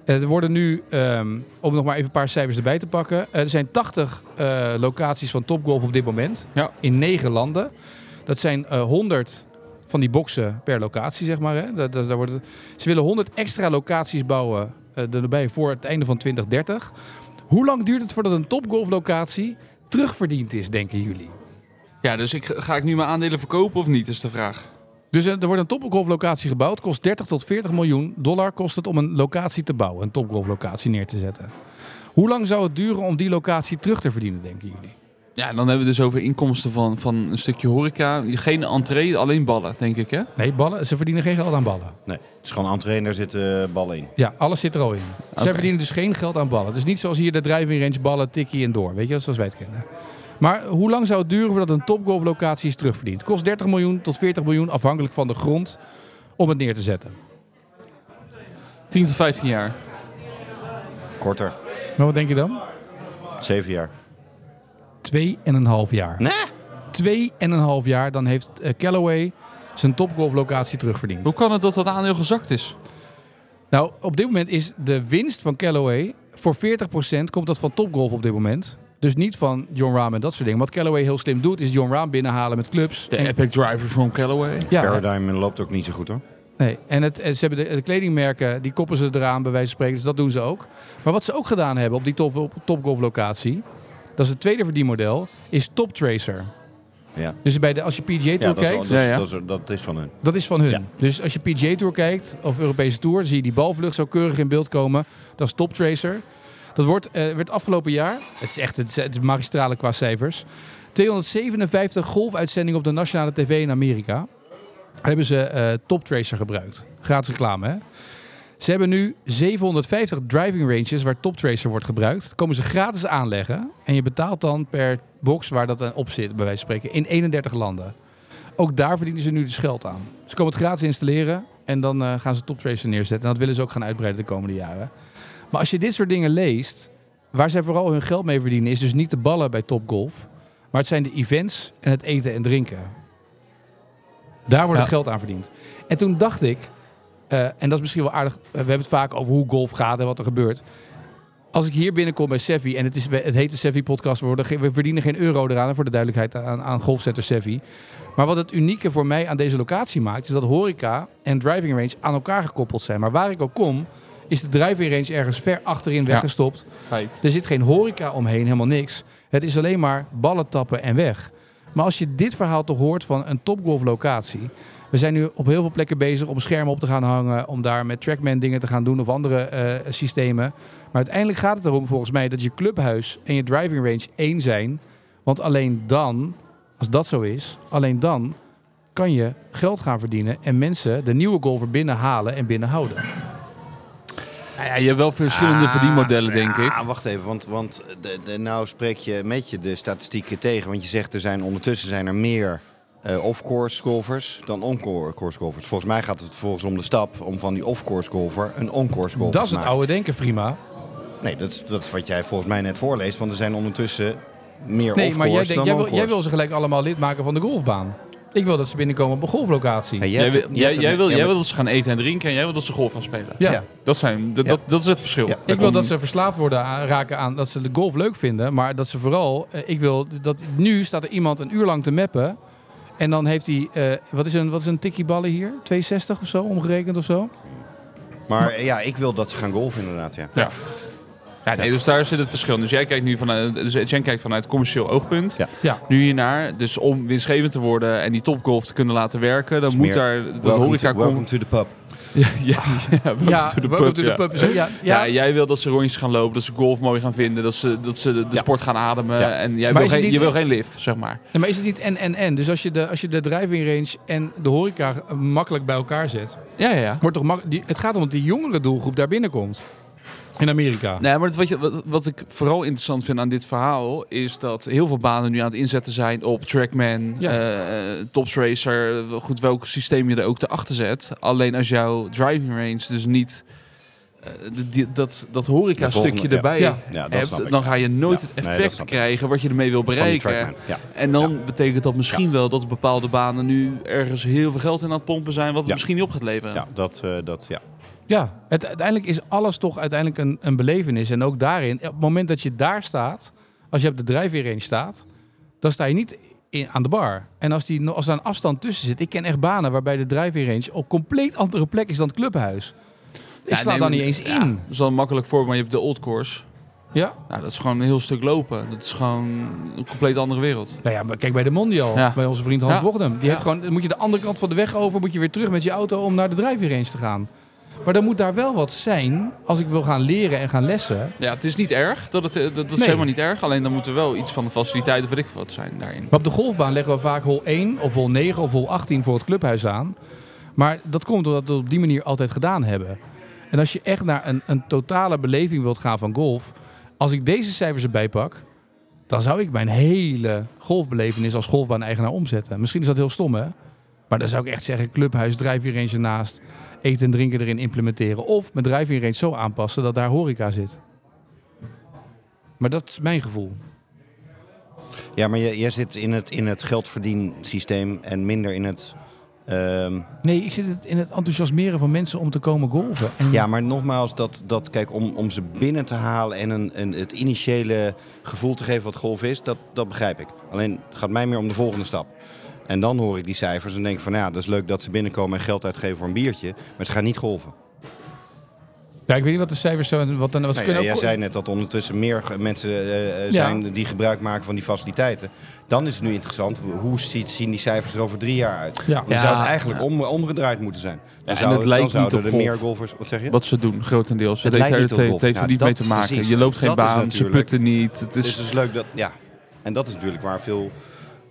Speaker 3: Eh, er worden nu, ehm, om nog maar even een paar cijfers erbij te pakken. eh, er zijn 80 eh, locaties van Topgolf op dit moment.
Speaker 1: Ja.
Speaker 3: In negen landen. Dat zijn eh 100 van die boxen per locatie, zeg maar. Hè? Dat, dat, daar wordt het- ze willen 100 extra locaties bouwen eh erbij voor het einde van 2030. Hoe lang duurt het voordat een topgolflocatie terugverdiend is, denken jullie?
Speaker 1: ja, dus ik, ga ik nu mijn aandelen verkopen of niet, is de vraag.
Speaker 3: Dus eh, er wordt een topgolflocatie gebouwd. Kost 30 tot 40 miljoen dollar kost het om een locatie te bouwen. Een topgolflocatie neer te zetten. Hoe lang zou het duren om die locatie terug te verdienen, denken jullie?
Speaker 1: Ja, en dan hebben we het dus over inkomsten van, van een stukje horeca. Geen entree, alleen ballen, denk ik, hè?
Speaker 3: Nee, ballen, ze verdienen geen geld aan ballen.
Speaker 2: Nee, het is gewoon entree en daar zit eh bal in.
Speaker 3: Ja, alles zit er al in. Zij
Speaker 1: Oké.
Speaker 3: verdienen dus geen geld aan ballen. Het is niet zoals hier de driving range ballen, tikkie en door. Weet je, zoals wij het kennen. Maar hoe lang zou het duren voordat een topgolflocatie is terugverdiend? Kost 30 miljoen tot 40 miljoen, afhankelijk van de grond, om het neer te zetten.
Speaker 1: 10 tot 15 jaar.
Speaker 2: Korter.
Speaker 3: Maar wat denk je dan?
Speaker 2: Zeven jaar.
Speaker 3: Twee en een half jaar.
Speaker 2: Nee?
Speaker 3: Twee en een half jaar, dan heeft eh, Callaway zijn topgolflocatie terugverdiend.
Speaker 1: Hoe kan het dat dat aandeel gezakt is?
Speaker 3: Nou, op dit moment is de winst van Callaway voor 40% komt dat van Topgolf op dit moment. Dus niet van John Rahm en dat soort dingen. Wat Callaway heel slim doet, is John Rahm binnenhalen met clubs.
Speaker 1: De
Speaker 3: En-
Speaker 1: Epic Driver van Callaway.
Speaker 3: ja,
Speaker 2: Paradigm loopt ook niet zo goed hoor.
Speaker 3: nee. En het, en ze hebben de, de kledingmerken, die koppen ze eraan bij wijze van spreken. Dus dat doen ze ook. Maar wat ze ook gedaan hebben op die top, op Topgolf locatie, dat is het tweede verdienmodel, is Toptracer.
Speaker 2: Ja.
Speaker 3: Dus bij de, als je PGA Tour
Speaker 2: Ja, dat is,
Speaker 3: kijkt...
Speaker 2: al- dat, is,
Speaker 1: Ja, ja.
Speaker 2: Dat, is, dat is van hun.
Speaker 3: Dat is van hun.
Speaker 2: Ja.
Speaker 3: Dus als je PGA Tour kijkt, of Europese Tour, zie je die balvlucht zo keurig in beeld komen. Dat is toptracer. Dat wordt, eh, werd afgelopen jaar, het is echt het is, het is magistrale qua cijfers, 257 golfuitzendingen op de nationale tv in Amerika. Hebben ze eh toptracer gebruikt. Gratis reclame, hè? Ze hebben nu 750 driving ranges waar toptracer wordt gebruikt. Dat komen ze gratis aanleggen. En je betaalt dan per box waar dat aan op zit, bij wijze van spreken, in 31 landen. Ook daar verdienen ze nu dus geld aan. Ze komen het gratis installeren en dan eh, gaan ze toptracer neerzetten. En dat willen ze ook gaan uitbreiden de komende jaren. Maar als je dit soort dingen leest, waar zij vooral hun geld mee verdienen, is dus niet de ballen bij topgolf. Maar het zijn de events en het eten en drinken. Daar wordt
Speaker 1: Ja.
Speaker 3: het geld aan verdiend. En toen dacht ik, eh, en dat is misschien wel aardig, eh, we hebben het vaak over hoe golf gaat en wat er gebeurt. Als ik hier binnenkom bij Sevi, en het, is, het heet de Sevi-podcast, we, worden geen- we verdienen geen euro eraan, hè, voor de duidelijkheid aan, aan golfcenter Sevi. Maar wat het unieke voor mij aan deze locatie maakt, is dat horeca en driving range aan elkaar gekoppeld zijn. Maar waar ik ook kom, is de driving range ergens ver achterin weggestopt.
Speaker 1: Feit.
Speaker 3: Er zit geen horeca omheen, helemaal niks. Het is alleen maar ballen tappen en weg. Maar als je dit verhaal toch hoort van een topgolflocatie. We zijn nu op heel veel plekken bezig om schermen op te gaan hangen. Om daar met trackman dingen te gaan doen of andere eh, systemen. Maar uiteindelijk gaat het erom volgens mij dat je clubhuis en je driving range één zijn. Want alleen dan, als dat zo is, alleen dan kan je geld gaan verdienen. En mensen de nieuwe golfer binnenhalen en binnenhouden.
Speaker 1: Nou ja, je hebt wel verschillende
Speaker 2: Ah,
Speaker 1: verdienmodellen, denk ik.
Speaker 2: Ja, wacht even, want, want de, de- nou spreek je met je de statistieken tegen. Want je zegt er zijn ondertussen zijn er meer eh, off-course golfers dan on-course golfers. Volgens mij gaat het vervolgens om de stap om van die off-course golfer een on-course golfer
Speaker 3: Dat is
Speaker 2: te
Speaker 3: het
Speaker 2: maken.
Speaker 3: oude denken, prima.
Speaker 2: Nee, dat is, dat is wat jij volgens mij net voorleest. Want er zijn ondertussen meer
Speaker 3: Nee, maar
Speaker 2: off-course
Speaker 3: jij,
Speaker 2: dan
Speaker 3: denkt, jij, wil,
Speaker 2: on-course.
Speaker 3: jij wil ze gelijk allemaal lid maken van de golfbaan. Ik wil dat ze binnenkomen op een golflocatie.
Speaker 2: Ja,
Speaker 1: Jij,
Speaker 2: hebt-
Speaker 1: wil- jij,
Speaker 2: hebt-
Speaker 1: jij wil,
Speaker 2: ja,
Speaker 1: jij
Speaker 2: maar-
Speaker 1: wil dat ze gaan eten en drinken en jij wil dat ze golf gaan spelen.
Speaker 3: ja.
Speaker 2: ja.
Speaker 1: Dat, zijn, dat,
Speaker 2: Ja.
Speaker 1: dat, dat is het verschil.
Speaker 2: Ja.
Speaker 3: Ik wil dat ze verslaafd worden aan- raken aan dat ze de golf leuk vinden. Maar dat ze vooral. eh, Ik wil dat nu staat er iemand een uur lang te mappen. En dan heeft hij. eh, wat is een, wat is een tikkie ballen hier? 260 of zo, omgerekend of zo?
Speaker 2: Maar eh, ja, ik wil dat ze gaan golven inderdaad, ja.
Speaker 1: Ja. Ja, nee, dus daar zit het verschil. Dus jij kijkt nu vanuit, dus Jen kijkt vanuit commercieel oogpunt.
Speaker 2: Ja.
Speaker 3: Ja.
Speaker 1: Nu hiernaar, dus om winstgevend te worden en die topgolf te kunnen laten werken, dan moet
Speaker 2: meer
Speaker 1: daar de
Speaker 2: Welcome
Speaker 1: horeca
Speaker 2: to, welcome
Speaker 1: komen.
Speaker 2: to the pub.
Speaker 1: Ja, ja, welcome
Speaker 3: ja,
Speaker 1: to the
Speaker 3: welcome
Speaker 1: pub,
Speaker 3: to the
Speaker 1: ja.
Speaker 3: pub. Zo, Ja, ja.
Speaker 1: Ja, jij wil dat ze rondjes gaan lopen, dat ze golf mooi gaan vinden, dat ze, dat ze de, de
Speaker 2: Ja.
Speaker 1: sport gaan ademen.
Speaker 2: Ja.
Speaker 1: En jij
Speaker 3: Maar
Speaker 1: wil
Speaker 3: is het
Speaker 1: geen,
Speaker 3: niet-
Speaker 1: je wil geen lift, zeg maar.
Speaker 3: Nee, maar is het niet en en en? Dus als je, de, als je de driving range en de horeca eh, makkelijk bij elkaar zet.
Speaker 1: Ja, ja, ja.
Speaker 3: Wordt toch mak- die, het gaat om dat die jongere doelgroep daar binnenkomt. In Amerika.
Speaker 1: Nee, maar het- wat, je, wat, wat ik vooral interessant vind aan dit verhaal is dat heel veel banen nu aan het inzetten zijn op Trackman,
Speaker 3: Ja.
Speaker 1: eh, eh, Tops Racer, goed welk systeem je er ook te achter zet. Alleen als jouw driving range dus niet eh, de- die- dat, dat horeca
Speaker 2: De
Speaker 1: stukje
Speaker 2: volgende,
Speaker 1: erbij
Speaker 3: ja.
Speaker 2: Ja, dat snap
Speaker 1: hebt,
Speaker 2: ik.
Speaker 1: dan ga je nooit
Speaker 2: Ja,
Speaker 1: het
Speaker 2: nee, dat
Speaker 1: effect
Speaker 2: snap ik.
Speaker 1: krijgen wat je ermee wil
Speaker 2: Van die
Speaker 1: bereiken.
Speaker 2: Trackman, Ja.
Speaker 1: En dan betekent dat misschien wel dat bepaalde banen nu ergens heel veel geld in aan het pompen zijn, wat het
Speaker 2: Ja.
Speaker 1: misschien niet op gaat leveren.
Speaker 2: Ja, dat, eh, dat, ja.
Speaker 3: Ja, het, uiteindelijk is alles toch uiteindelijk een, een belevenis. En ook daarin, op het moment dat je daar staat, als je op de drijfveer in staat, dan sta je niet in, aan de bar. En als, die, als daar een afstand tussen zit, ik ken echt banen waarbij de drijfveer range op compleet andere plek is dan het clubhuis. Ik
Speaker 1: Ja,
Speaker 3: sta
Speaker 1: nee,
Speaker 3: daar
Speaker 1: maar-
Speaker 3: niet eens
Speaker 1: ja,
Speaker 3: in.
Speaker 1: Dat is wel een makkelijk voor, maar je hebt de old course.
Speaker 3: Ja?
Speaker 1: Nou, dat is gewoon een heel stuk lopen. Dat is gewoon een compleet andere wereld.
Speaker 3: Nou ja, maar kijk bij de Mondial,
Speaker 1: Ja.
Speaker 3: bij onze vriend Hans
Speaker 1: Ja.
Speaker 3: Wochdem. Die heeft
Speaker 1: Ja.
Speaker 3: gewoon, dan moet je de andere kant van de weg over, moet je weer terug met je auto om naar de drijfveer range te gaan. Maar dan moet daar wel wat zijn, als ik wil gaan leren en gaan lessen.
Speaker 1: Ja, het is niet erg. Dat, het, eh, dat, dat is
Speaker 3: Nee.
Speaker 1: helemaal niet erg. Alleen dan moet er wel iets van de faciliteiten, weet ik veel wat zijn daarin.
Speaker 3: Maar op de golfbaan leggen we vaak hol 1 of hol 9 of hol 18 voor het clubhuis aan. Maar dat komt omdat we het op die manier altijd gedaan hebben. En als je echt naar een, een totale beleving wilt gaan van golf. Als ik deze cijfers erbij pak, dan zou ik mijn hele golfbelevenis als golfbaan-eigenaar omzetten. Misschien is dat heel stom, hè? Maar dan zou ik echt zeggen, clubhuis, driving range ernaast. Eten en drinken erin implementeren. Of mijn driving range zo aanpassen dat daar horeca zit. Maar dat is mijn gevoel.
Speaker 2: Ja, maar jij, jij zit in het, in het geldverdiensysteem en minder in het... ehm,
Speaker 3: Nee, ik zit het- in het enthousiasmeren van mensen om te komen golven. En
Speaker 2: Ja, maar nogmaals, dat, dat kijk, om, om ze binnen te halen en een, een, het initiële gevoel te geven wat golf is, dat, dat begrijp ik. Alleen het gaat mij meer om de volgende stap. En dan hoor ik die cijfers en denk ik van, nou ja, dat is leuk dat ze binnenkomen en geld uitgeven voor een biertje, maar ze gaan niet golven.
Speaker 3: Ja, ik weet niet wat de cijfers zijn. Wat dan, wat ze
Speaker 2: Nou, ja,
Speaker 3: kunnen
Speaker 2: jij
Speaker 3: ook-
Speaker 2: zei net dat ondertussen meer ge- mensen eh, eh,
Speaker 3: Ja.
Speaker 2: zijn die gebruik maken van die faciliteiten. Dan is het nu interessant, hoe ziet, zien die cijfers er over drie jaar uit?
Speaker 3: Ja.
Speaker 2: Dan zou het eigenlijk om, omgedraaid moeten zijn. Dan
Speaker 1: en
Speaker 2: zou-
Speaker 1: het lijkt
Speaker 2: dan zouden
Speaker 1: niet op
Speaker 2: er
Speaker 1: golf.
Speaker 2: meer golfers, wat zeg je?
Speaker 1: Wat ze doen, grotendeels. Het
Speaker 2: Het
Speaker 1: heeft
Speaker 2: lijkt
Speaker 1: er
Speaker 2: niet
Speaker 1: het
Speaker 2: op
Speaker 1: heeft-
Speaker 2: golf.
Speaker 1: heeft er
Speaker 2: Nou,
Speaker 1: niet
Speaker 2: dat-
Speaker 1: mee te maken.
Speaker 2: precies.
Speaker 1: Je loopt geen
Speaker 2: Dat is
Speaker 1: baan, ze
Speaker 2: natuurlijk-
Speaker 1: putten niet. Het
Speaker 2: Dus
Speaker 1: is,
Speaker 2: het is leuk dat, ja. En dat is natuurlijk waar veel,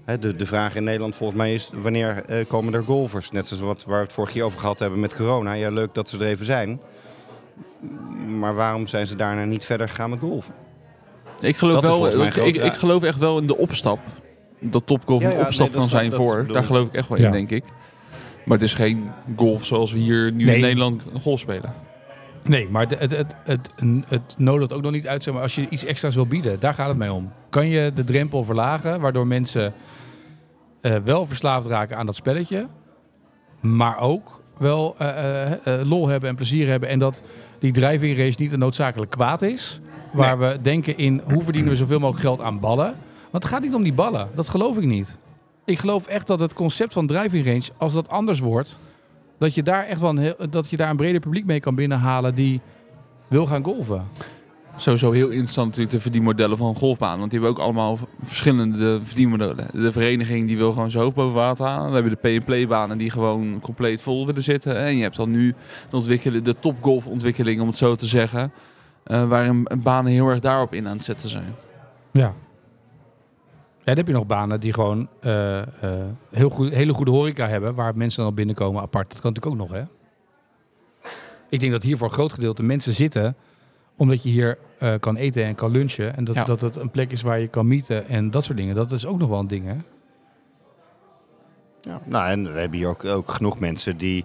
Speaker 2: hè, de, de vraag in Nederland volgens mij is, wanneer eh, komen er golfers? Net zoals wat, waar we het vorige keer over gehad hebben met corona. Ja, leuk dat ze er even zijn. Maar waarom zijn ze daarna niet verder gegaan met golfen?
Speaker 1: ik, geloof
Speaker 2: dat is volgens
Speaker 1: wel,
Speaker 2: mij
Speaker 1: ik,
Speaker 2: groot,
Speaker 1: ik,
Speaker 2: ja.
Speaker 1: ik geloof echt wel in de opstap. Dat topgolf
Speaker 2: Ja,
Speaker 1: een
Speaker 2: ja,
Speaker 1: opstap
Speaker 2: nee, dat
Speaker 1: kan
Speaker 2: snap-
Speaker 1: zijn
Speaker 2: dat
Speaker 1: voor.
Speaker 2: bedoel
Speaker 1: Daar
Speaker 2: ik.
Speaker 1: geloof ik echt wel
Speaker 3: Ja.
Speaker 1: in, denk ik. Maar het is geen golf zoals we hier nu
Speaker 3: Nee.
Speaker 1: in Nederland golf spelen.
Speaker 3: Nee, maar de- het, het, het, het, nodigt ook nog niet uit. Zeg maar, als je iets extra's wil bieden, daar gaat het mij om. Kan je de drempel verlagen, waardoor mensen eh, wel verslaafd raken aan dat spelletje, maar ook wel eh, eh, eh, lol hebben en plezier hebben. En dat die driving race niet een noodzakelijk kwaad is. Waar we denken in hoe verdienen we zoveel mogelijk geld aan ballen. Want het gaat niet om die ballen, dat geloof ik niet. Ik geloof echt dat het concept van driving range, als dat anders wordt, dat je daar echt wel een, heel, dat je daar een breder publiek mee kan binnenhalen die wil gaan golven.
Speaker 1: Sowieso heel interessant natuurlijk de verdienmodellen van een golfbaan. Want die hebben ook allemaal v- verschillende verdienmodellen. De vereniging die wil gewoon zo hoog boven water halen. Dan hebben de P&Play banen die gewoon compleet vol willen zitten. En je hebt dan nu de, ontwikkelen- de topgolfontwikkeling, om het zo te zeggen. eh, waarin banen heel erg daarop in aan het zetten zijn.
Speaker 3: Ja. Ja, dan heb je nog banen die gewoon eh, eh, heel goed, hele goede horeca hebben, waar mensen dan al binnenkomen apart. Dat kan natuurlijk ook nog, hè? Ik denk dat hier voor een groot gedeelte mensen zitten, omdat je hier eh, kan eten en kan lunchen. En dat,
Speaker 1: Ja.
Speaker 3: dat het een plek is waar je kan mieten en dat soort dingen. Dat is ook nog wel een ding, hè?
Speaker 2: Ja. Nou, en we hebben hier ook, ook genoeg mensen die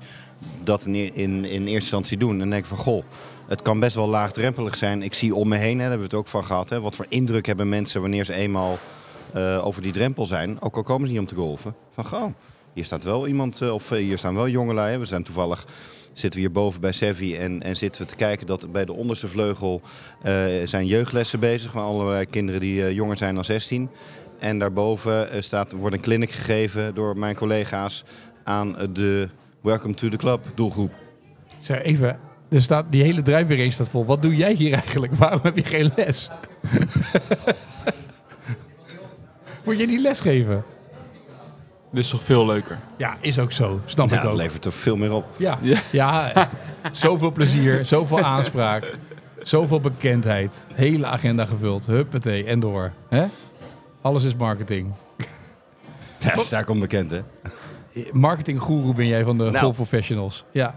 Speaker 2: dat in, e- in, in eerste instantie doen. En denken van, goh, het kan best wel laagdrempelig zijn. Ik zie om me heen, hè, daar hebben we het ook van gehad. Hè, wat voor indruk hebben mensen wanneer ze eenmaal eh, over die drempel zijn. Ook al komen ze niet om te golven. Van, goh, hier staat wel iemand, eh, of eh, hier staan wel jongelui. hè. We zijn toevallig... Zitten we hier boven bij Sevi en, en zitten we te kijken dat bij de onderste vleugel eh, zijn jeugdlessen bezig. Van allerlei kinderen die eh, jonger zijn dan 16. En daarboven eh, staat, wordt een clinic gegeven door mijn collega's aan eh, de Welcome to the Club doelgroep.
Speaker 3: Zeg even, er staat, die hele drijfweer staat vol. Wat doe jij hier eigenlijk? Waarom heb je geen les? Moet je die les geven?
Speaker 1: Dit is toch veel leuker.
Speaker 3: Ja, is ook zo. Snap
Speaker 2: Ja,
Speaker 3: ik ook.
Speaker 2: dat levert er veel meer op.
Speaker 3: Ja, ja.
Speaker 1: Ja.
Speaker 3: echt. Zoveel plezier, zoveel aanspraak, zoveel bekendheid. Hele agenda gevuld. Huppatee, en door. Hè? Alles is marketing.
Speaker 2: Ja, dat is eigenlijk onbekend, hè?
Speaker 3: Marketinggoeroe ben jij van de
Speaker 2: Nou.
Speaker 3: golfprofessionals. Ja.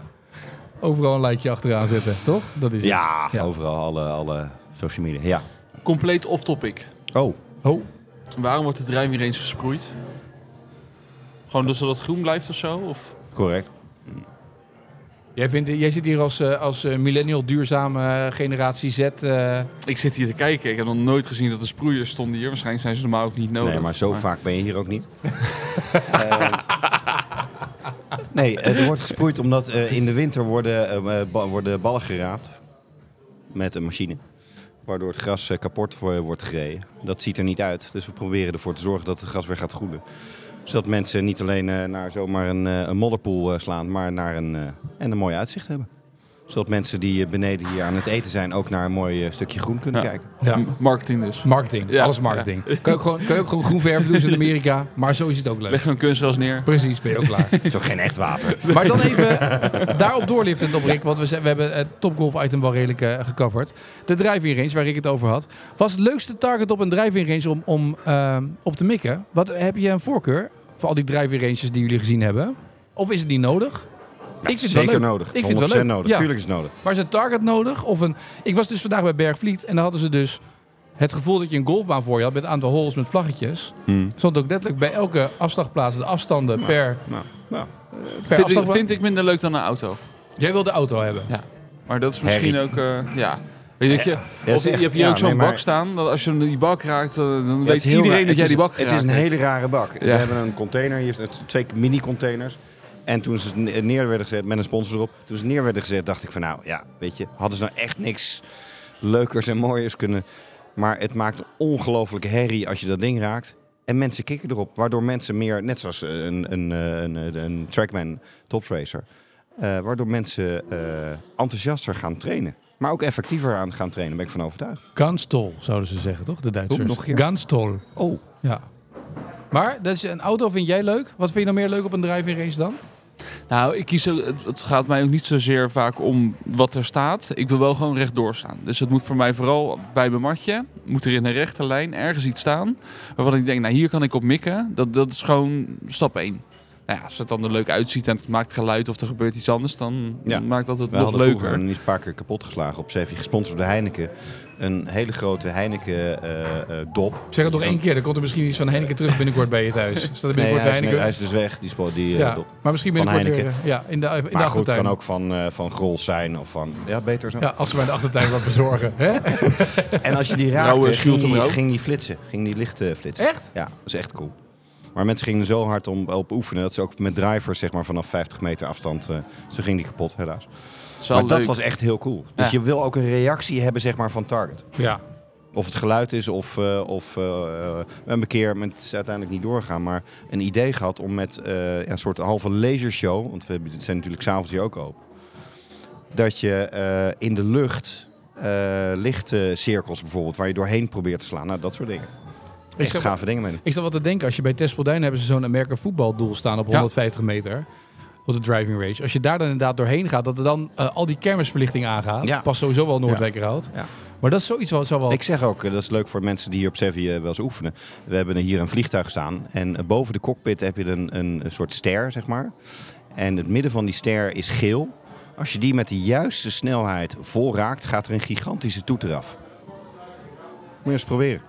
Speaker 3: Overal een lijkje achteraan zetten, toch? Dat is het.
Speaker 2: Ja,
Speaker 3: Ja.
Speaker 2: overal, alle, alle social media. Ja.
Speaker 1: Compleet off-topic.
Speaker 2: Oh,
Speaker 3: Oh,
Speaker 1: Waarom wordt de drijving range gesproeid? Gewoon dus zodat het groen blijft of zo? Of?
Speaker 2: correct.
Speaker 3: jij, vindt, jij zit hier als, eh, als eh, millennial duurzame eh, generatie Z. eh,
Speaker 1: Ik zit hier te kijken. Ik heb nog nooit gezien dat de sproeiers stonden hier. Waarschijnlijk zijn ze normaal ook niet nodig.
Speaker 2: Nee, maar zo vaak ben je hier ook niet. Eh, nee, er wordt gesproeid omdat eh, in de winter worden, eh, ba- worden ballen geraapt met een machine. Waardoor het gras eh, kapot voor- wordt gereden. Dat ziet er niet uit. Dus we proberen ervoor te zorgen dat het gras weer gaat groeien. Zodat mensen niet alleen eh, naar zomaar een, eh, een modderpoel eh, slaan, maar naar een, eh, en een mooi uitzicht hebben. Zodat mensen die eh, beneden hier aan het eten zijn ook naar een mooi eh, stukje groen kunnen
Speaker 1: Ja.
Speaker 2: kijken.
Speaker 3: ja.
Speaker 1: M- Marketing dus.
Speaker 3: Marketing,
Speaker 1: Ja.
Speaker 3: alles marketing. Kan, je ook gewoon, kan je ook gewoon groen verven doen ze in Amerika, maar zo is het ook leuk.
Speaker 1: Leg zo'n kunstgras neer.
Speaker 3: Precies, ben je ook klaar.
Speaker 2: Het is ook geen echt water.
Speaker 3: Maar dan even daarop doorliftend op Rick, want we, zijn- we hebben het topgolf item wel redelijk eh, gecoverd. De driving range, waar ik het over had. Was het leukste target op een driving range om, om ehm, op te mikken? Wat, heb je een voorkeur voor al die driving ranges die jullie gezien hebben? Of is het niet nodig? ik vind
Speaker 2: Zeker
Speaker 3: het wel leuk.
Speaker 2: nodig.
Speaker 3: Ik vind het wel
Speaker 2: 100%
Speaker 3: leuk.
Speaker 2: nodig.
Speaker 3: Ja.
Speaker 2: Tuurlijk is het nodig.
Speaker 3: Maar is een target nodig? Of een... Ik was dus vandaag bij Bergvliet en daar hadden ze dus het gevoel dat je een golfbaan voor je had met een aantal holes met vlaggetjes. Stond ook letterlijk bij elke afslagplaats de afstanden per,
Speaker 2: Nou, nou.
Speaker 3: per
Speaker 1: Vind ik,
Speaker 3: afslagplaats.
Speaker 1: vind ik minder leuk dan een auto.
Speaker 3: Jij wilde de auto hebben.
Speaker 1: Maar dat is misschien
Speaker 2: Herrie.
Speaker 1: ook... eh, ja. Weet je, dat je,
Speaker 2: Ja,
Speaker 1: of
Speaker 2: is
Speaker 1: je
Speaker 2: echt-
Speaker 1: hebt hier
Speaker 2: ja,
Speaker 1: ook zo'n
Speaker 2: nee, maar-
Speaker 1: bak staan. Dat als je die bak raakt, eh, dan
Speaker 2: Ja,
Speaker 1: weet
Speaker 2: het is heel
Speaker 1: iedereen
Speaker 2: raar.
Speaker 1: dat jij
Speaker 2: Het
Speaker 1: die
Speaker 2: is-
Speaker 1: bak
Speaker 2: Het
Speaker 1: geraakt
Speaker 2: is een
Speaker 1: hebt.
Speaker 2: hele rare bak. We
Speaker 1: Ja.
Speaker 2: hebben een container, hier zijn twee mini-containers. En toen ze ne- neer werden gezet, met een sponsor erop, toen ze neer werden gezet, dacht ik van nou, ja, weet je, hadden ze nou echt niks leukers en mooiers kunnen. Maar het maakt een ongelofelijke herrie als je dat ding raakt. En mensen kikken erop, waardoor mensen meer, net zoals eh, een, een, eh, een, eh, een trackman topracer, eh, waardoor mensen eh, enthousiaster gaan trainen. Maar ook effectiever aan gaan trainen, ben ik van overtuigd.
Speaker 3: Ganstol, zouden ze zeggen, toch? De Duitsers.
Speaker 2: Hoe? Nog een keer?
Speaker 3: Ganstol.
Speaker 2: Oh,
Speaker 3: Ja. Maar dat is een auto vind jij leuk? Wat vind je nou meer leuk op een drive-in race dan?
Speaker 1: Nou, ik kies, er- het- het gaat mij ook niet zozeer vaak om wat er staat. Ik wil wel gewoon rechtdoor staan. Dus het moet voor mij vooral bij mijn matje. Moet er in een rechte lijn ergens iets staan. Waarvan ik denk, nou hier kan ik op mikken. Dat, dat is gewoon stap 1. Nou ja, als het dan er leuk uitziet en het maakt geluid of er gebeurt iets anders, dan
Speaker 2: Ja.
Speaker 1: maakt dat het
Speaker 2: We
Speaker 1: nog
Speaker 2: hadden
Speaker 1: leuker.
Speaker 2: vroeger, en die is een paar keer kapot geslagen op Sevi, gesponsord door Heineken. Een hele grote Heineken eh, eh, dop.
Speaker 3: Zeg het nog één keer, dan komt er misschien iets van Heineken terug binnenkort bij je thuis. Staat er
Speaker 2: Nee,
Speaker 3: binnenkort
Speaker 2: hij, is,
Speaker 3: Heineken?
Speaker 2: hij is dus weg, die, spo- die eh,
Speaker 3: ja,
Speaker 2: dop.
Speaker 3: maar misschien
Speaker 2: Van
Speaker 3: binnenkort weer,
Speaker 2: Heineken.
Speaker 3: eh, ja, in de, in
Speaker 2: Maar
Speaker 3: de
Speaker 2: goed, het
Speaker 3: achtertuin.
Speaker 2: kan ook van, eh van Grols zijn of van... Ja, beter zo.
Speaker 3: Ja, als ze mij in de achtertuin wat bezorgen. Hè?
Speaker 2: En als je die
Speaker 1: Rauwe
Speaker 2: raakte,
Speaker 1: schild
Speaker 2: ging
Speaker 1: hem
Speaker 2: die,
Speaker 1: ook.
Speaker 2: ging die flitsen. Ging die lichten flitsen.
Speaker 3: Echt?
Speaker 2: Ja, dat is echt cool. Maar mensen gingen er zo hard om, op oefenen... dat ze ook met drivers zeg maar, vanaf 50 meter afstand... eh ze ging die kapot, helaas.
Speaker 1: Het is wel
Speaker 2: Maar dat
Speaker 1: leuk.
Speaker 2: was echt heel cool. Dus
Speaker 1: Ja.
Speaker 2: je wil ook een reactie hebben zeg maar, van Target.
Speaker 3: Ja.
Speaker 2: Of het geluid is, of, eh of eh, we hebben een keer, met, het is uiteindelijk niet doorgaan, maar een idee gehad om met eh, ja, een soort halve lasershow, want we hebben- het zijn natuurlijk s'avonds hier ook open, dat je eh, in de lucht eh lichtcirkels bijvoorbeeld, waar je doorheen probeert te slaan, nou dat soort dingen.
Speaker 3: Ik
Speaker 2: Echt
Speaker 3: zat,
Speaker 2: gave dingen mee.
Speaker 3: ik zat wat te denken, als je bij Tesselduin hebben ze zo'n Amerika voetbaldoel staan op
Speaker 1: Ja.
Speaker 3: 150 meter. Op de driving race. Als je daar dan inderdaad doorheen gaat, dat er dan eh, al die kermisverlichting aangaat.
Speaker 2: Ja.
Speaker 3: Pas sowieso wel Noordwijkerhout.
Speaker 2: Ja.
Speaker 3: Maar dat is zoiets wat zo wel...
Speaker 2: Ik zeg ook, eh, dat is leuk voor mensen die hier op Sevi eh, wel eens oefenen. We hebben hier een vliegtuig staan en eh, boven de cockpit heb je een, een, een soort ster, zeg maar. En het midden van die ster is geel. Als je die met de juiste snelheid vol raakt, gaat er een gigantische toeter af. Moet je eens proberen.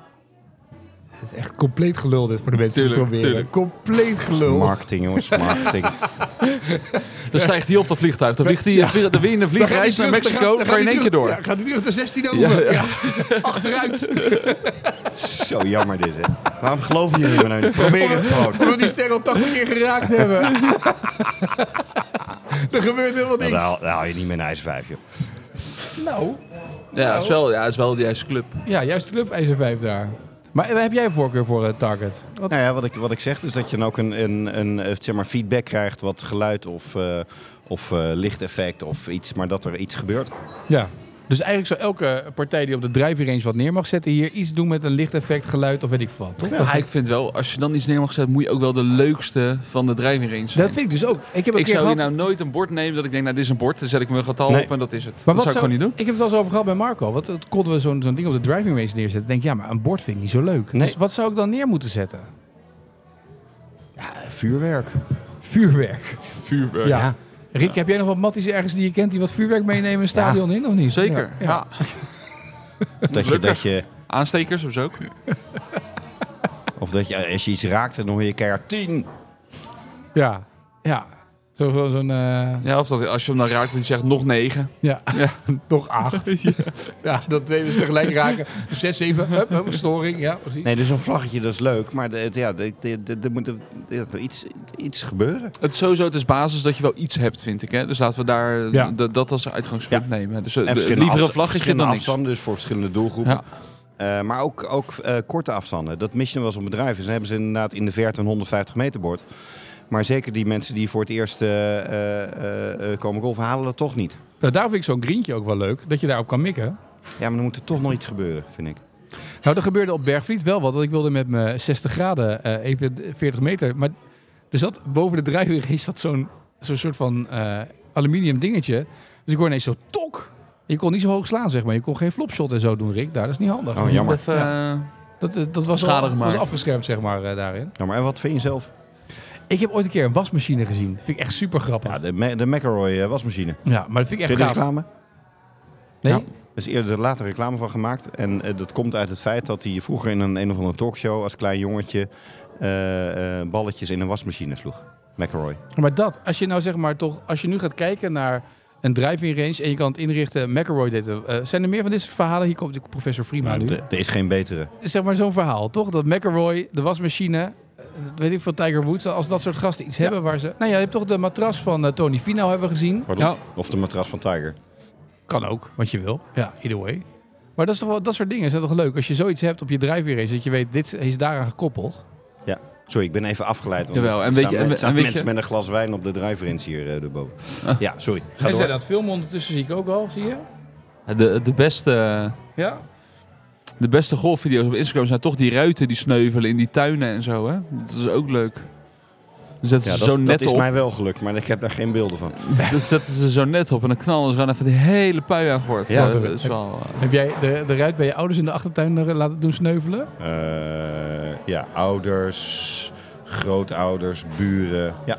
Speaker 3: Het is echt compleet gelul dit voor de mensen
Speaker 1: Tuurlijk,
Speaker 3: die het proberen. Compleet gelul.
Speaker 2: Marketing, jongens, marketing.
Speaker 1: Dan stijgt hij op dat vliegtuig. Dan, vliegt hij, dan win je een
Speaker 3: Dan gaat hij
Speaker 1: vliegreis naar
Speaker 3: terug, dan gaat-
Speaker 1: Mexico.
Speaker 3: dan
Speaker 1: Dan kan je in één
Speaker 3: gaat
Speaker 1: keer
Speaker 3: hij
Speaker 1: door.
Speaker 3: terug- ja, gaat hij terug de 16 over. Ja, Achteruit.
Speaker 2: Zo jammer dit, hè. Waarom geloven jullie me nou niet? Probeer het gewoon.
Speaker 3: Omdat die ster al 80 keer geraakt hebben. er gebeurt helemaal
Speaker 2: Nou,
Speaker 3: niks.
Speaker 2: daar haal- daar haal je niet meer een ijzer 5, joh.
Speaker 3: Nou.
Speaker 1: Ja, het is wel, ja, het is wel de juiste club.
Speaker 3: Ja, juist de club IJzer 5 daar. Maar heb jij een voorkeur voor eh, Target? Wat?
Speaker 2: Nou ja, wat ik, wat ik zeg, dus dat je dan ook een, een, een eh, zeg maar feedback krijgt wat geluid of, eh, of eh, lichteffect of iets, maar dat er iets gebeurt.
Speaker 3: Ja. Dus eigenlijk zou elke partij die op de driving range wat neer mag zetten... hier iets doen met een lichteffect, geluid of weet ik wat. toch?
Speaker 1: Maar ik vind wel, als je dan iets neer mag zetten, moet je ook wel de leukste van de driving range zijn.
Speaker 3: Dat vind ik dus ook. Ik heb een
Speaker 1: ik
Speaker 3: keer
Speaker 1: zou
Speaker 3: gehad...
Speaker 1: hier nou nooit een bord nemen dat ik denk, nou dit is een bord, dan zet ik mijn getal
Speaker 2: Nee.
Speaker 1: op en dat is het.
Speaker 3: Maar
Speaker 1: dat
Speaker 3: wat
Speaker 1: zou ik gewoon niet doen.
Speaker 3: Ik heb het al eens over gehad bij Marco. Wat dat konden we zo'n zo'n ding op de driving range neerzetten? Ik denk, ja, maar een bord vind ik niet zo leuk.
Speaker 2: Nee.
Speaker 3: Dus wat zou ik dan neer moeten zetten?
Speaker 2: Vuurwerk.
Speaker 3: Vuurwerk.
Speaker 2: eh,
Speaker 1: Vuurwerk.
Speaker 3: Ja. Rick, heb jij nog wat matties ergens die je kent die wat vuurwerk meenemen een stadion in of niet?
Speaker 1: Zeker.
Speaker 3: Ja. Ja.
Speaker 2: Dat je,
Speaker 1: Lekker.
Speaker 2: dat je,
Speaker 1: Aanstekers of zo.
Speaker 2: of dat je, als je iets raakt, dan hoor je keihard 10.
Speaker 3: Ja. ja. Zo- Zo'n... zo'n, eh,
Speaker 1: Ja, of dat, als je hem dan raakt en die zegt nog negen.
Speaker 3: Ja. Nog acht. ja. dat twee mensen tegelijk raken. Dus zes, zeven. Hup, hup, storing. Ja, precies.
Speaker 2: Nee, dus een vlaggetje, dat is leuk, maar de- het- ja, de- de- de- de moet er- er moet iets, iets gebeuren.
Speaker 1: Het is sowieso, het is basis dat je wel iets hebt, vind ik. Hè? Dus laten we daar eh,
Speaker 3: Ja.
Speaker 1: d- dat als uitgangspunt
Speaker 2: Ja.
Speaker 1: nemen. Dus eh,
Speaker 2: En
Speaker 1: de-
Speaker 2: verschillende
Speaker 1: liever een
Speaker 2: afsta-
Speaker 1: vlaggetje
Speaker 2: verschillende
Speaker 1: dan niks.
Speaker 2: afstanden, dus voor verschillende doelgroepen.
Speaker 1: Ja.
Speaker 2: Eh, maar ook, ook eh, korte afstanden. Dat mis je wel eens op bedrijven. Dus dan hebben ze inderdaad in de verte een 150 meter bord. Maar zeker die mensen die voor het eerst eh, eh, eh, eh, komen golven, halen dat toch niet.
Speaker 3: Nou, daar vind ik zo'n grientje ook wel leuk. Dat je daarop kan mikken.
Speaker 2: Ja, maar dan moet er toch nog iets gebeuren, vind ik.
Speaker 3: Nou, er gebeurde op Bergvliet wel wat. Want ik wilde met mijn 60 graden eh, even 40 meter. Maar er zat boven de drijfweg is dat zo'n zo'n soort van eh, aluminium dingetje. Dus ik hoor ineens zo tok. Je kon niet zo hoog slaan, zeg maar. Je kon geen flopshot en zo doen, Rick. Daar, dat is niet handig.
Speaker 2: Oh, jammer.
Speaker 1: Even, eh,
Speaker 3: Dat, eh, dat was,
Speaker 1: Schade
Speaker 3: al, was
Speaker 1: gemaakt.
Speaker 3: afgeschermd, zeg maar, eh, daarin.
Speaker 2: Nou, maar en wat vind je zelf?
Speaker 3: Ik heb ooit een keer een wasmachine gezien. Vind ik echt super grappig.
Speaker 2: Ja,
Speaker 3: Ja,
Speaker 2: de, Ma- de McElroy eh, wasmachine.
Speaker 3: maar dat vind ik
Speaker 2: Ken je
Speaker 3: echt
Speaker 2: de
Speaker 3: gaaf.
Speaker 2: reclame?
Speaker 3: Nee?
Speaker 1: Ja.
Speaker 2: Er is eerder later reclame van gemaakt. En eh, dat komt uit het feit dat hij vroeger in een, een of andere talkshow als klein jongetje eh, eh, balletjes in een wasmachine sloeg. McElroy.
Speaker 3: Maar dat, als je nou zeg maar toch, als je nu gaat kijken naar een driving range en je kan het inrichten. McElroy deed het. Eh, zijn er meer van dit soort verhalen? Hier komt professor Freeman nu.
Speaker 2: Er er is geen betere.
Speaker 3: Zeg maar zo'n verhaal, toch? Dat McElroy, de wasmachine, eh, weet ik veel, Tiger Woods. Als dat soort gasten iets hebben waar ze... Nou ja, je hebt toch de matras van eh, Tony Finau hebben gezien.
Speaker 2: Pardon?
Speaker 1: Ja.
Speaker 2: Of de matras van Tiger.
Speaker 3: Kan ook, wat je wil. Ja, either way. Maar dat, is toch wel, dat soort dingen zijn toch leuk? Als je zoiets hebt op je driving range, dat je weet, dit is daaraan gekoppeld.
Speaker 2: Ja. Sorry, ik ben even afgeleid. Want
Speaker 1: Jawel,
Speaker 2: er
Speaker 1: en weet
Speaker 2: staan
Speaker 1: je- en
Speaker 2: men-
Speaker 1: we-
Speaker 2: staan
Speaker 1: en weet
Speaker 2: mensen
Speaker 1: je- Ah.
Speaker 2: met een glas wijn op de drive-ins hier eh, erboven. Ja, sorry. Ga
Speaker 3: en
Speaker 2: door.
Speaker 3: zijn dat filmen ondertussen, zie ik ook al, zie je?
Speaker 1: eh, De, de beste...
Speaker 3: Ja.
Speaker 1: De beste golfvideo's op Instagram zijn toch die ruiten die sneuvelen in die tuinen en zo, hè? Dat is ook leuk. Dan zetten
Speaker 2: Ja,
Speaker 1: ze
Speaker 2: dat,
Speaker 1: zo
Speaker 2: dat
Speaker 1: net
Speaker 2: is
Speaker 1: op.
Speaker 2: mij wel gelukt, maar ik heb daar geen beelden van.
Speaker 1: Dan zetten ze zo net op en dan knallen ze gewoon even de hele pui aan gort.
Speaker 2: Ja,
Speaker 1: dat
Speaker 3: dat
Speaker 1: is wel... eh,
Speaker 3: Heb jij de, de ruit bij je ouders in de achtertuin eh, laten doen sneuvelen?
Speaker 2: Eh, ja, ouders, grootouders, buren. Ja.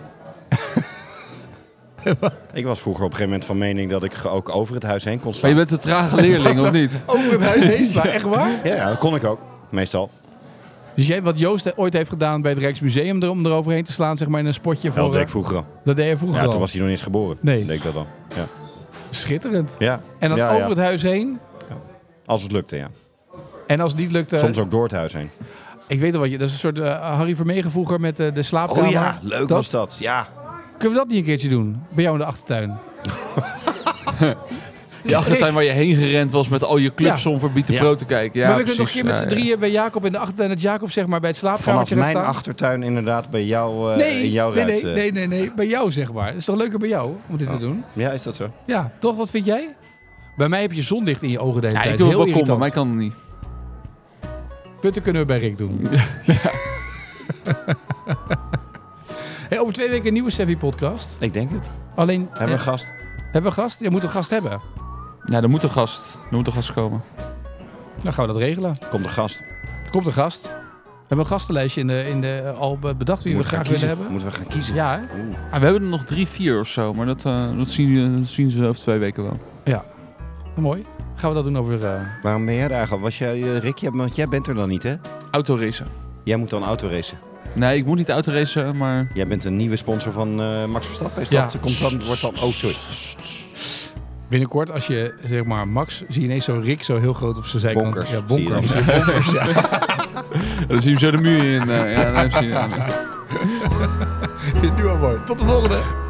Speaker 2: ik was vroeger op een gegeven moment van mening dat ik ook over het huis heen kon
Speaker 1: Maar
Speaker 2: slaan.
Speaker 1: je bent een trage leerling, of niet?
Speaker 3: Over het huis heen, maar echt waar?
Speaker 2: Ja, ja, dat kon ik ook. Meestal.
Speaker 3: Dus jij, wat Joost ooit heeft gedaan bij het Rijksmuseum, er, om eroverheen te slaan, zeg maar in een spotje
Speaker 2: Ja, dat
Speaker 3: voor...
Speaker 2: deed ik
Speaker 3: eh,
Speaker 2: vroeger al.
Speaker 3: dat deed je vroeger
Speaker 2: Ja,
Speaker 3: al.
Speaker 2: toen was hij nog niet eens geboren.
Speaker 3: Nee.
Speaker 2: Deed ik dat dan. Ja.
Speaker 3: Schitterend.
Speaker 2: ja.
Speaker 3: En dan
Speaker 2: Ja, ja.
Speaker 3: over het huis heen.
Speaker 2: Als het lukte, ja.
Speaker 3: En als het niet lukte...
Speaker 2: Soms ook door het huis heen.
Speaker 3: Ik weet al wat je... Dat is een soort eh, Harry Vermegen vroeger met eh, de slaapkamer.
Speaker 2: Oh ja, leuk
Speaker 3: dat,
Speaker 2: was dat. Ja.
Speaker 3: Kunnen we dat niet een keertje doen? Bij jou in de achtertuin.
Speaker 1: Die achtertuin waar je heen gerend was met al je clubs
Speaker 3: Ja.
Speaker 1: om voor Biet de
Speaker 2: Ja.
Speaker 1: Pro te kijken. Ja,
Speaker 3: maar we kunnen toch
Speaker 1: precies.
Speaker 3: een
Speaker 1: Ja,
Speaker 3: keer met z'n
Speaker 1: ja.
Speaker 3: drieën bij Jacob in de achtertuin... dat Jacob zeg maar bij het
Speaker 2: Vanaf
Speaker 3: slaapkamertje gaat
Speaker 2: mijn
Speaker 3: staan?
Speaker 2: achtertuin inderdaad bij jou eh,
Speaker 3: Nee,
Speaker 2: in jouw
Speaker 3: nee,
Speaker 2: ruit.
Speaker 3: nee,
Speaker 2: eh. Oh.
Speaker 3: nee, nee, nee, bij jou zeg maar. Het is toch leuker bij jou om dit te doen?
Speaker 2: Ja, is dat zo?
Speaker 3: Ja, toch? Wat vind jij? Bij mij heb je zonlicht in je ogen de hele
Speaker 1: Ja,
Speaker 3: tijd.
Speaker 1: ik wil
Speaker 3: Heel
Speaker 1: wel komen,
Speaker 3: irritant.
Speaker 1: maar ik kan het niet.
Speaker 3: Punten kunnen we bij Rick doen. hey, over twee weken een nieuwe Sevi-podcast.
Speaker 2: Ik denk het.
Speaker 3: Alleen,
Speaker 2: Hebben we een
Speaker 3: eh,
Speaker 2: gast?
Speaker 3: hebben we een gast? Je moet een gast hebben.
Speaker 1: Ja, er moet een gast. Er moet een gast komen.
Speaker 3: Dan gaan we dat regelen.
Speaker 2: Komt een gast.
Speaker 3: Er komt een gast. We hebben een gastenlijstje in de, in de, al be- bedacht wie we
Speaker 2: Moeten
Speaker 3: graag
Speaker 2: gaan kiezen.
Speaker 3: willen hebben.
Speaker 2: Moeten we gaan kiezen.
Speaker 3: Ja, hè?
Speaker 2: Oeh.
Speaker 1: Ah, we hebben er nog drie, vier of zo, maar dat, eh, dat, zien, eh, dat zien ze over twee weken wel.
Speaker 3: ja. Nou, Mooi. Gaan we dat doen over... eh,
Speaker 2: Waarom ben jij daar eigenlijk? Was jij, eh, Rick, jij, want jij bent er dan niet, hè?
Speaker 1: Autoracen.
Speaker 2: Jij moet dan autoracen.
Speaker 1: Nee, ik moet niet autoracen, maar...
Speaker 2: Jij bent een nieuwe sponsor van eh, Max Verstappen. Is
Speaker 3: Ja.
Speaker 2: dat, komt dan, wordt dan, oh, sorry.
Speaker 3: binnenkort, als je zeg maar Max... zie je ineens zo Rick zo heel groot op zijn zijkant.
Speaker 2: Bonkers,
Speaker 3: Ja,
Speaker 2: zie je
Speaker 3: bonkers.
Speaker 1: Dan zien we zo de muur in. eh, ja, dan heeft hij- ja, nee.
Speaker 3: nu al mooi. Tot de volgende.